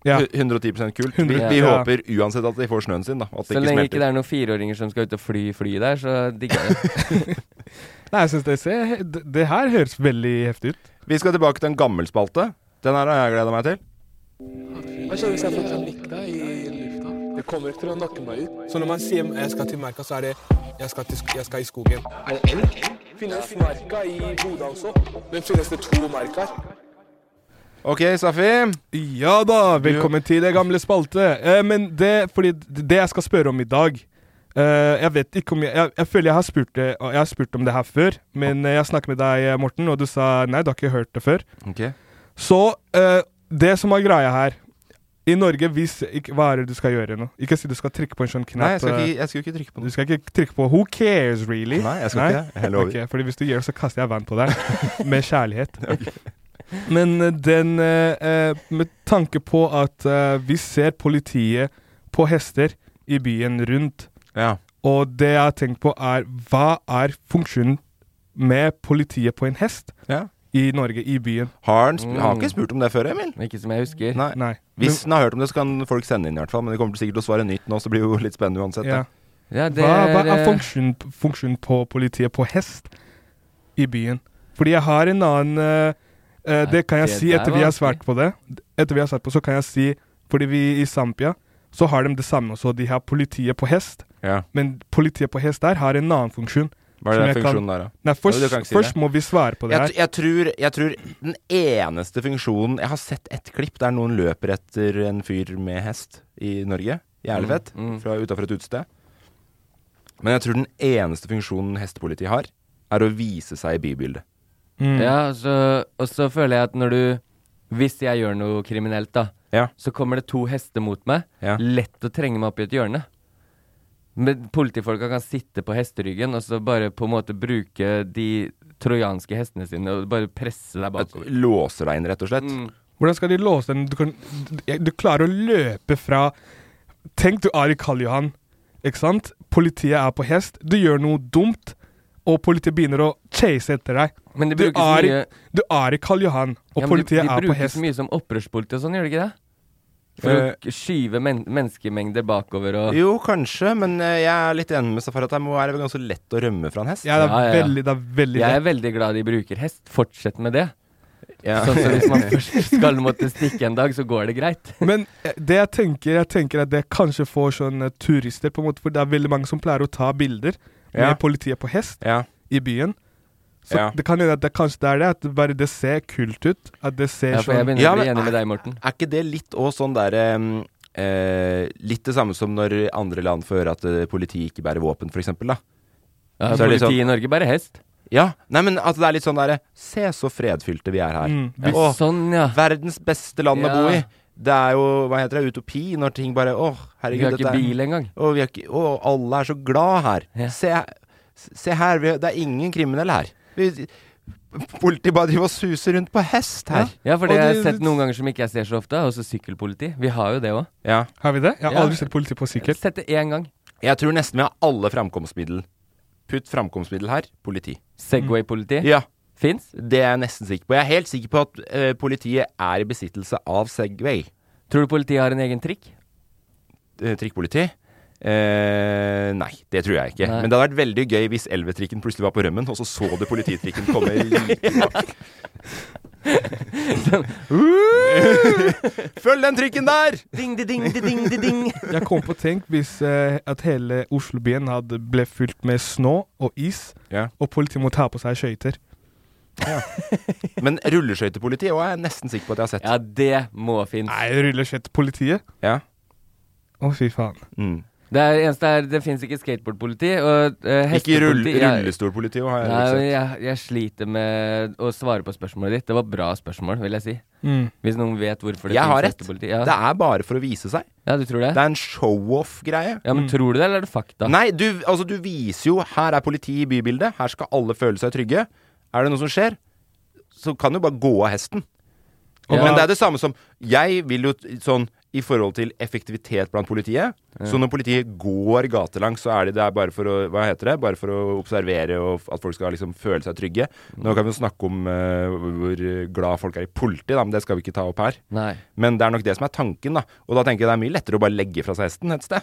Ja.
Hu- 110 kult. Vi,
100,
vi
ja.
håper uansett at de får snøen sin, da. At
Så
det ikke
lenge ikke
smelter.
det er noen fireåringer som skal ut og fly fly der, så digger jeg det.
Nei, jeg synes det, ser, det, det her høres veldig heftig ut.
Vi skal tilbake til en gammel spalte. Den her har jeg gleda meg til.
Hva skjer hvis jeg får klikk deg i lufta? Det kommer ikke til å nakke meg ut.
Så når man sier jeg skal til merka, så er det jeg skal, til, sk- jeg skal i skogen. Er det elg? Finnes merka i Bodø også? Men finnes det to merker?
Ok, Safi.
Ja da, velkommen til det gamle spalte. Eh, men det, fordi det jeg skal spørre om i dag eh, Jeg vet ikke om jeg, jeg, jeg føler jeg har, spurt det, jeg har spurt om det her før, men eh, jeg snakket med deg, eh, Morten, og du sa nei, du har ikke hørt det før.
Ok.
Så eh, det som er greia her I Norge, hvis ikke, Hva er det du skal gjøre nå? Ikke si du skal trykke på en sånn knapp.
Nei, jeg skal
eh,
ikke, jeg skal ikke trykke på
du skal ikke trykke på 'Who cares, really?'
Nei, jeg skal ikke det. Jeg lover.
Ok, fordi hvis du gjør det, så kaster jeg vann på deg. med kjærlighet. Men eh, den eh, eh, Med tanke på at eh, vi ser politiet på hester i byen rundt, og det jeg har tenkt på, er hva er funksjonen med politiet på en hest i Norge, i byen?
Har han sp- har ikke
Mm.
spurt om det før, Emil?
Ikke som jeg husker.
Nei.
Nei.
Hvis den har hørt om det, så kan folk sende inn i hvert fall. Men det kommer sikkert til å svare nytt nå, så det blir jo litt spennende uansett.
Ja.
da.
hva, hva
eh,
eh,
er funksjonen, funksjonen på politiet på hest i byen? Fordi jeg har en annen eh, eh, Det kan jeg
det
si
der
etter vi
var
har svart på det. Etter vi har svart på, så kan jeg si Fordi vi i Zampia så har de det samme også. De har politiet på hest.
Ja.
Men politiet på hest der har en annen funksjon.
Hva er
som
det
jeg kan-
funksjonen der, da?
Nei, først,
Jo, du kan ikke si
først
det.
må vi svare på det her.
Jeg, jeg, tror, jeg tror den eneste funksjonen Jeg har sett ett klipp der noen løper etter en fyr med hest i Norge. Jævlig fett.
Mm, mm.
Fra utafor et utested. Men jeg tror den eneste funksjonen hestepolitiet har, er å vise seg i bybildet. Mm.
Ja, så, og så føler jeg at når du Hvis jeg gjør noe kriminelt, da, så kommer det to hester mot meg. Lett å trenge meg opp i et hjørne. Men politifolka kan sitte på hesteryggen og så bare på en måte bruke de trojanske hestene sine og bare presse deg bakover.
Låser deg inn, rett og slett.
Mm. Hvordan skal de låse den? Du, kan, du, du klarer å løpe fra Tenk du er i Karl Johan, ikke sant? Politiet er på hest, du gjør noe dumt, og politiet begynner å chase etter deg.
Men det
du,
brukes
er, i-
mye-
du er i Karl Johan, og
Ja, men
politiet
de, de
er på
brukes
hest.
mye som opprørspoliti og sånn, gjør de ikke det? For
Eh,
å skyve men menneskemengder bakover og
Jo, kanskje, men eh, jeg er litt enig med Safar at det må være ganske lett å rømme fra en hest.
Ja, det er Ja, ja, ja. veldig-
det er veldig
Jeg er veldig glad de bruker hest. Fortsett med det.
Ja.
Sånn så hvis man først skal måtte stikke en dag, så går det greit.
Men eh, det jeg tenker, jeg tenker at det kanskje får sånn eh, turister, på en måte, for det er veldig mange som pleier å ta bilder
Ja.
med politiet på hest i byen. Så
Ja.
det kan hende at det kanskje det er det, at bare det ser kult ut. At det ser sånn
Ja, men er- Er ikke det litt òg sånn derre eh, Litt det samme som når andre land får høre at eh, politiet ikke bærer våpen, f.eks. da.
Ja,
Så er det litt
politiet
sånn-
i Norge bærer hest.
Ja. Nei, men at det er litt sånn derre Se så fredfylte vi er her.
Mm, ja.
Åh,
Sånn, ja.
Verdens beste land å
Ja.
bo i. Det er jo hva heter det, utopi når ting bare Åh, herregud,
Vi har ikke
dette er-
bil engang.
Åh, vi har ikke, åh, alle er så glad her. Se, se her, vi, det er ingen kriminelle her. Vi, politiet bare driver og suser rundt på hest her.
Ja, for det
Og
har jeg
det-
sett noen ganger som ikke jeg ser så ofte, er også sykkelpoliti. Vi har jo det òg.
Har vi det? Jeg har
Ja.
aldri sett politi på sykkel.
Sett det én gang.
Jeg tror nesten vi har alle framkomstmiddel. Putt framkomstmiddel her, politi.
Segway-politi?
Ja.
Fins?
Det er jeg nesten sikker på. Jeg er helt sikker på at eh, politiet er i besittelse av Segway.
Tror du politiet har en egen trikk?
trikkpoliti? Eh, nei, det tror jeg ikke.
Nei.
Men det hadde vært veldig gøy hvis elvetrikken plutselig var på rømmen, og så så du polititrikken komme like bak. Følg den trikken der!
Ding, di, ding, di, ding, di, ding.
Jeg kom på tenk hvis eh, at hele Oslobyen hadde- ble fylt med snø og is,
Ja.
og politiet måtte ha på seg skøyter.
Men rulleskøytepoliti òg er jeg nesten sikker på at jeg har sett.
Ja, det må finnes.
Nei, rulleskøytepolitiet?
Ja.
Å, fy faen.
Det er eneste er, det fins ikke skateboardpoliti. Og eh,
Ikke rull,
hestepoliti jeg-
rullestolpoliti òg, har jeg
Nei,
sett.
men jeg, jeg sliter med å svare på spørsmålet ditt. Det var bra spørsmål, vil jeg si.
Mm.
Hvis noen vet hvorfor det
Jeg har
finnes
rett.
hestepoliti. Ja.
Det er bare for å vise seg.
Ja, du tror det?
Det er en show-off-greie.
Ja, men tror du det, eller er det fakta?
Nei, du, altså, du viser jo Her er politi i bybildet. Her skal alle føle seg trygge. Er det noe som skjer, så kan du bare gå av hesten.
Ja.
Men det er det samme som Jeg vil jo t- sånn i forhold til effektivitet blant politiet. Så når politiet går gatelangs, så er de der bare for å Hva heter det? Bare for å observere og f- at folk skal liksom føle seg trygge. Nå kan vi jo snakke om eh, hvor glad folk er i politiet, da, men det skal vi ikke ta opp her.
Nei.
Men det er nok det som er tanken, da. Og da tenker jeg det er mye lettere å bare legge fra seg hesten et sted.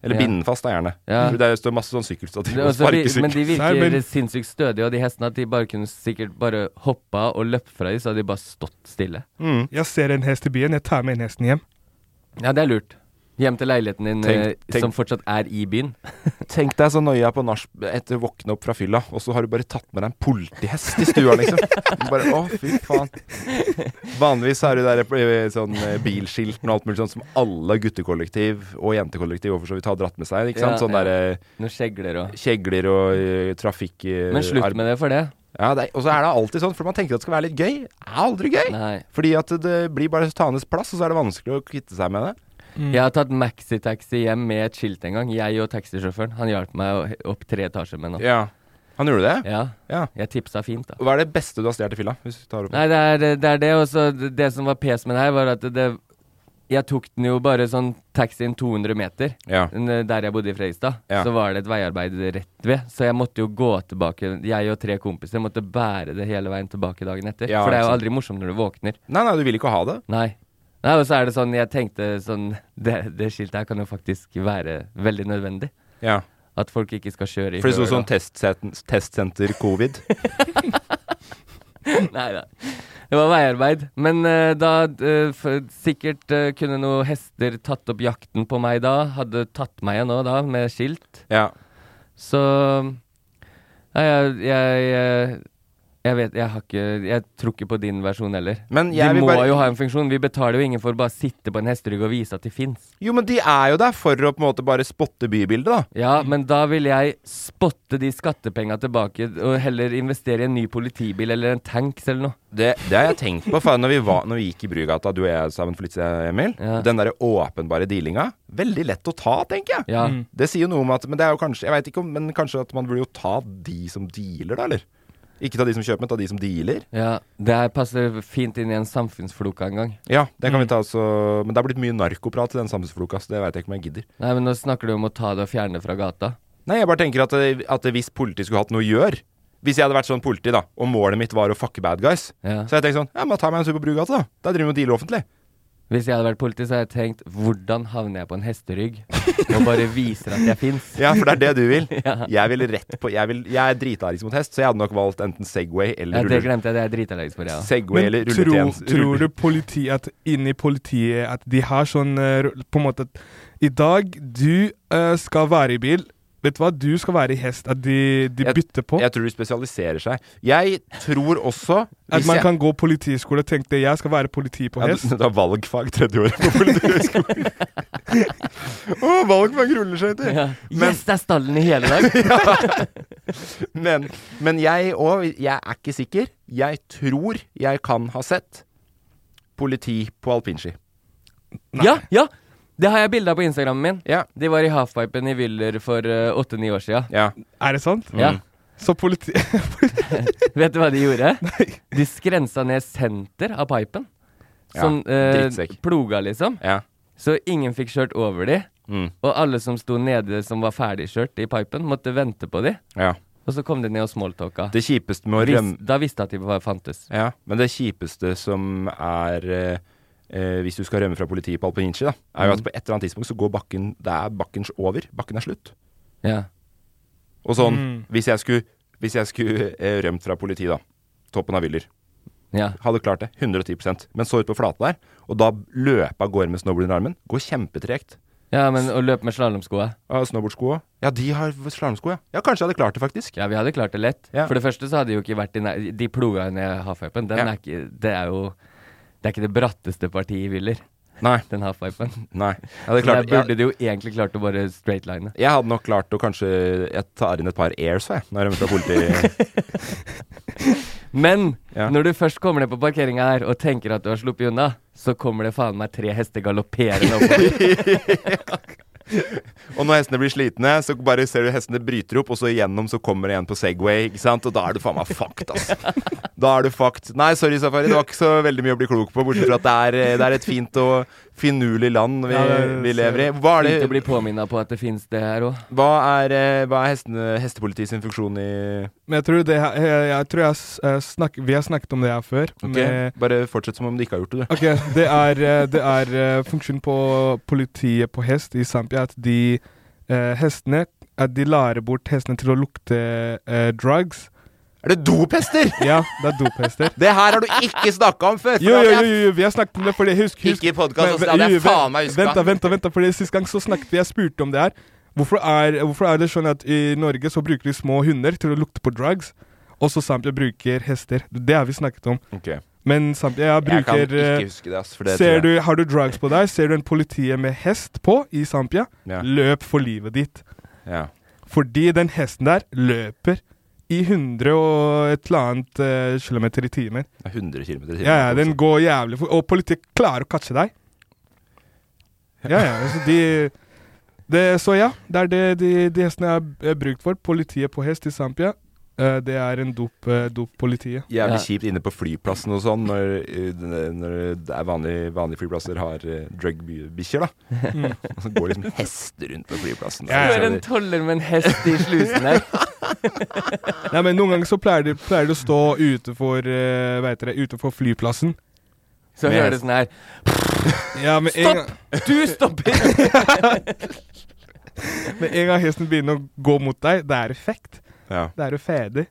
Eller
Ja.
binde den fast, da, gjerne.
Ja.
For Det står masse sånn sykkelstativ
Det er
og
også vi-
sparkesykkel.
Men de
Nei,
virker
men-
sinnssykt stødige, og de hestene at de bare kunne sikkert bare hoppa og løpt fra dem, så hadde de bare stått stille.
Jeg ser en hest i byen, jeg tar med en hesten hjem.
Ja, det er lurt. Hjem til leiligheten din
Tenk-
eh,
tenk-
som fortsatt er i byen.
Tenk deg så nøya på nach etter å våkne opp fra fylla, og så har du bare tatt med deg en politihest i stua, liksom. Du bare, å, fy faen. Vanligvis er det der eh, sånn eh, bilskilten og alt mulig sånt som alle guttekollektiv og jentekollektiv og for så vidt har dratt med seg. Ikke sant?
Ja,
Sånn
ja.
derre
Noen kjegler og
Kjegler og eh, trafikk... eh,
Men slutt
arm-
med det for det.
Ja, det er- og så er det alltid sånn, for man tenker at det skal være litt gøy. Det er aldri gøy!
Nei.
Fordi at det blir bare tanes plass, og så er det vanskelig å kvitte seg med det.
Jeg har tatt maxitaxi hjem med et skilt en gang, jeg og taxisjåføren. Han hjalp meg å- opp tre etasjer med noe.
Ja. Han gjorde det?
Ja.
Ja.
Jeg tipsa fint, da.
Hva er det beste du har stjålet i fylla? Hvis du tar opp
Nei, det er det, er det og så det- det som var pes med det her, var at det Jeg tok den jo bare sånn taxien 200 meter
Ja.
Den, eh, der jeg bodde i Fredrikstad.
Ja.
Så var det et veiarbeid rett ved, så jeg måtte jo gå tilbake. Jeg og tre kompiser måtte bære det hele veien tilbake dagen etter.
Ja,
for det er jo
ikke sant.
aldri morsomt når du våkner.
Nei, nei, du vil ikke ha det.
Nei. Nei, og så er det sånn, jeg tenkte sånn Det, det skiltet her kan jo faktisk være veldig nødvendig.
Ja.
At folk ikke skal kjøre i
For det sto
høl og-
sånn testseten- testsenter covid.
Nei da. Det var veiarbeid. Men eh, da eh, f Sikkert eh, kunne noen hester tatt opp jakten på meg da. Hadde tatt meg igjen nå da, med skilt.
Ja.
Så Nei, jeg jeg, jeg jeg vet, jeg har ikke Jeg tror ikke på din versjon heller.
Men jeg
de
vil
må
bare-
jo ha en funksjon. Vi betaler jo ingen for å bare sitte på en hesterygg og vise at de fins.
Jo, men de er jo der for å på en måte bare spotte bybildet, da.
Ja, men da vil jeg spotte de skattepenga tilbake, og heller investere i en ny politibil eller en tanks eller noe.
Det, det har jeg tenkt på. For når, vi var, når vi gikk i Brugata, du og jeg sammen, for litt siden, Emil Den derre åpenbare dealinga. Veldig lett å ta, tenker jeg.
Ja. Mm.
Det sier jo noe om at Men det er jo kanskje Jeg vet ikke om Men kanskje at man burde jo ta de som dealer, da, eller? Ikke ta de som kjøper, men ta de som dealer.
Ja, det her passer fint inn i en samfunnsfloka en gang.
Ja, det kan vi ta også Men det har blitt mye narkoprat i den samfunnsfloka, så det veit jeg ikke om jeg gidder.
Nei, men nå snakker du om å ta det og fjerne det fra gata.
Nei, jeg bare tenker at, at hvis politiet skulle hatt noe å gjøre Hvis jeg hadde vært sånn politi, da, og målet mitt var å fucke bad guys,
Ja.
så hadde jeg tenkt sånn Ja, men da tar jeg meg en tur på Brugata, da. Der driver vi og dealer offentlig.
Hvis jeg hadde vært politi, så hadde jeg tenkt Hvordan havner jeg på en hesterygg og bare viser at jeg fins?
Ja, for det er det du vil.
Ja.
Jeg vil rett på Jeg, vil, jeg er dritargisk mot hest, så jeg hadde nok valgt enten Segway eller
Ja, det
ruller-
glemte jeg. Det er jeg dritallergisk for, ja.
Segway eller rulletjeneste.
Tror du politi at inni politiet at de har sånn eh, ru- På en måte at I dag, du eh, skal være i bil. Vet du hva? Du skal være i hest. At de, de bytter på.
Jeg tror de spesialiserer seg. Jeg tror også
At
hvis
man
jeg-
kan gå politiskole og tenke det, jeg skal være politi på
Ja,
hest.
du, du har valgfag tredje året på Politihøgskolen. Å, valgfag rulleskøyter!
Ja. Yes, det er stallen i hele dag.
men, men jeg òg, jeg er ikke sikker. Jeg tror jeg kan ha sett politi på alpinski.
Ja, ja! Det har jeg bilde av på Instagrammen min.
Ja.
De var i halfpipen i Wyller for eh, åtte-ni år sia.
Ja.
Er det sant?
Ja.
Så politi...
Vet du hva de gjorde? De skrensa ned senter av pipen.
Ja,
Sånn eh,
drittsekk.
ploga, liksom.
Ja.
Så ingen fikk kjørt over de.
Mm.
Og alle som sto nede som var ferdigkjørt i pipen, måtte vente på de.
Ja.
Og så kom de ned og smalltalka.
Det kjipeste med å
Vis-
rømme
Da visste at de var- fantes.
Ja, men det kjipeste som er eh, eh, hvis du skal rømme fra politiet på alpinski, da, er jo at
Mm.
på et eller annet tidspunkt så går bakken Det er bakken over. Bakken er slutt.
Ja.
Og sånn,
Mm.
hvis jeg skulle, hvis jeg skulle eh, rømt fra politiet, da. Toppen av Wyller.
Ja.
Hadde klart det. 110 Men så ut på flate der, og da løpe av gårde med snowboard under armen. Går kjempetregt.
ja, men å løpe med slalåmskoa
Ja, Snowboardsko òg. Ja, de har slalåmsko, ja. Ja, kanskje jeg hadde klart det, faktisk.
Ja, vi hadde klart det lett.
Ja.
For det første så hadde jo ikke vært i nær... De ploga jo ned halfpipen. Den
Ja.
er ikke Det er jo Det er ikke det bratteste partiet i Wyller.
Nei.
Den halfpipen.
Nei. Jeg hadde
Så
klart-
der burde du jo egentlig klart å bare straightline.
Jeg hadde nok klart å kanskje Jeg tar inn et par airs, jeg, når jeg rømmer fra politiet.
Men
Ja.
når du først kommer ned på parkeringa her og tenker at du har sluppet unna, så kommer det faen meg tre hester galopperende oppover.
Og når hestene blir slitne, så bare ser du hestene bryter opp, og så igjennom så kommer det en på Segway, ikke sant? Og da er du faen meg fucked, ass. Da er du fucked. Nei, sorry, Safari, det var ikke så veldig mye å bli klok på, bortsett fra at det er, det er et fint og finurlig land vi,
Ja, det-
vi lever i. Hva er,
Fint å
det,
bli påminna på at det fins det her òg.
hva er, eh, hva er hestene, hestepolitiet sin funksjon i
Men jeg tror, det, her- jeg, jeg tror jeg s- eh, snakk, vi har snakket om det her før.
Ok,
med-
Bare fortsett som om de ikke har gjort det, du.
Ok, det er, eh, det er eh, funksjonen på politiet på hest i Zambia at de eh, hestene At de lærer bort hestene til å lukte eh, drugs.
Er det dophester?!
Ja, det er dophester.
Det her har du ikke snakka om før! for
Jo,
at
jo,
jeg
jo, jo, vi har snakket om det fordi jeg husker,
Ikke
husker
i podcast,
Men-
altså, det hadde jeg
jo, jo,
faen meg husket.
Vent, da, vent, da, vent da, fordi sist gang så snakket vi, jeg spurte om det her. Hvorfor er, hvorfor er det sånn at i Norge så bruker de små hunder til å lukte på drugs, og så Zambia bruker hester? Det har vi snakket om.
Ok.
Men Zambia jeg
Jeg
bruker
kan ikke
eh,
huske det, ass, for det tror jeg.
ser du, Har du drugs på deg, ser du en politiet med hest på i Zambia,
Ja.
løp for livet ditt.
Ja.
Fordi den hesten der løper i 100 og et eller annet eh, kilometer i timen.
Det er 100 km i timen.
Ja, ja, den går jævlig fort. Og politiet klarer å catche deg. Ja, ja. Altså, de det, Så ja, det er det de, de hestene er b- er brukt for. Politiet på hest i Zampia. Eh, Det er en dop, eh, dop-politiet.
Jævlig kjipt inne på flyplassen og sånn, når, eh, når det er vanlige, vanlige flyplasser har eh, drug-bikkjer, da.
Mm.
Og så går liksom hester rundt på flyplassen.
Ja, ja. en toller med en hest i slusen her.
Nei, men Noen ganger så pleier de, pleier de å stå utenfor, eh, hva heter det, utenfor flyplassen.
Så hører det sånn her
Ja, men en
Stopp! Du stopper!
Med en gang hesten begynner å gå mot deg, det er effekt.
Ja.
Det er jo ferdig.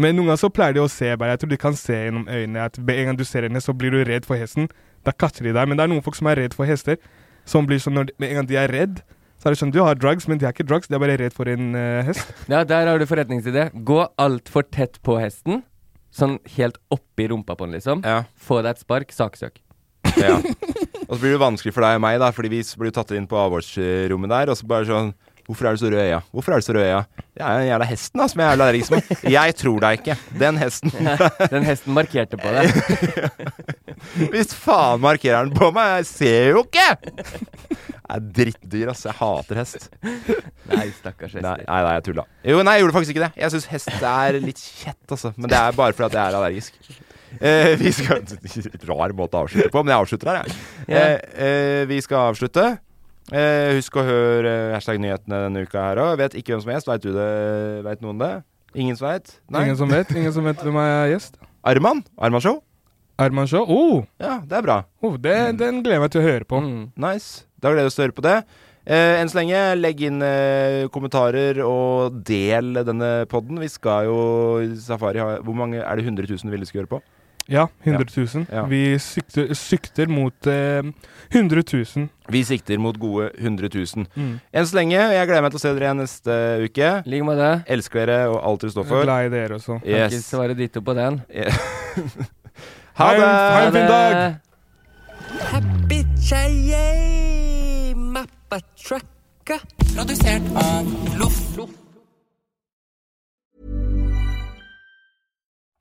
Men noen ganger så pleier de å se bare, Jeg tror de kan se gjennom øynene at med en gang du ser henne, så blir du redd for hesten. Da catcher de deg. Men det er noen folk som er redd for hester. Som blir sånn når de, Med en gang de er redd, så er det sånn Du har drugs, men de er ikke drugs. De er bare redd for en eh, hest.
Ja, der har du forretningsidé. Gå altfor tett på hesten. Sånn helt oppi rumpa på den, liksom. Få deg et spark, saksøk.
Ja. Og så blir det vanskelig for deg og meg, da, fordi vi s- blir tatt inn på avhørsrommet der, og så bare sånn Hvorfor er du så rød i øya? Hvorfor er du så rød i øya? Det er den jævla hesten da, som jeg er jævla allergisk mot. Jeg tror deg ikke. Den hesten.
Den hesten markerte på deg.
Hvis faen markerer den på meg, jeg ser jo ikke! Jeg er drittdyr, ass. Jeg hater hest.
Nei, stakkars hester.
Nei, nei, nei jeg tulla. Jo, nei, jeg gjorde faktisk ikke det. Jeg syns hest er litt kjett, altså. Men det er bare fordi at jeg er allergisk. Eh, vi skal Rar måte å avslutte på, men jeg avslutter her, jeg. Eh, eh, vi skal avslutte. Eh, husk å høre eh, hashtag nyhetene denne uka her òg. Vet ikke hvem som er gjest. Veit du det? Veit noen det? Ingen som veit?
Ingen som vet. Ingen som vet hvem er gjest.
Arman? Arman Show?
Arman Shaw? Oh!
Ja, det er bra.
Oh, det,
Mm.
Den gleder jeg meg til å høre på.
Nice. Da gleder vi oss til å høre på det. Eh, enn så lenge, legg inn eh, kommentarer og del denne podden. Vi skal jo Safari ha Hvor mange er det 100 000 ville skulle høre på?
Ja, 100 000.
Ja.
Vi sikter, sikter mot eh, 100 000.
Vi sikter mot gode 100 000.
Mm.
Enn så lenge. Jeg gleder meg til å se dere igjen neste uke.
Ligg med det.
Elsker dere og alt dere står
Jeg er
for.
glad i dere også.
Kan
Yes.
ikke svare ditto på den.
Ha det!
Ha en fin dag!
Eh.
Bitchayay, mappa trucka. Produsert av Loff.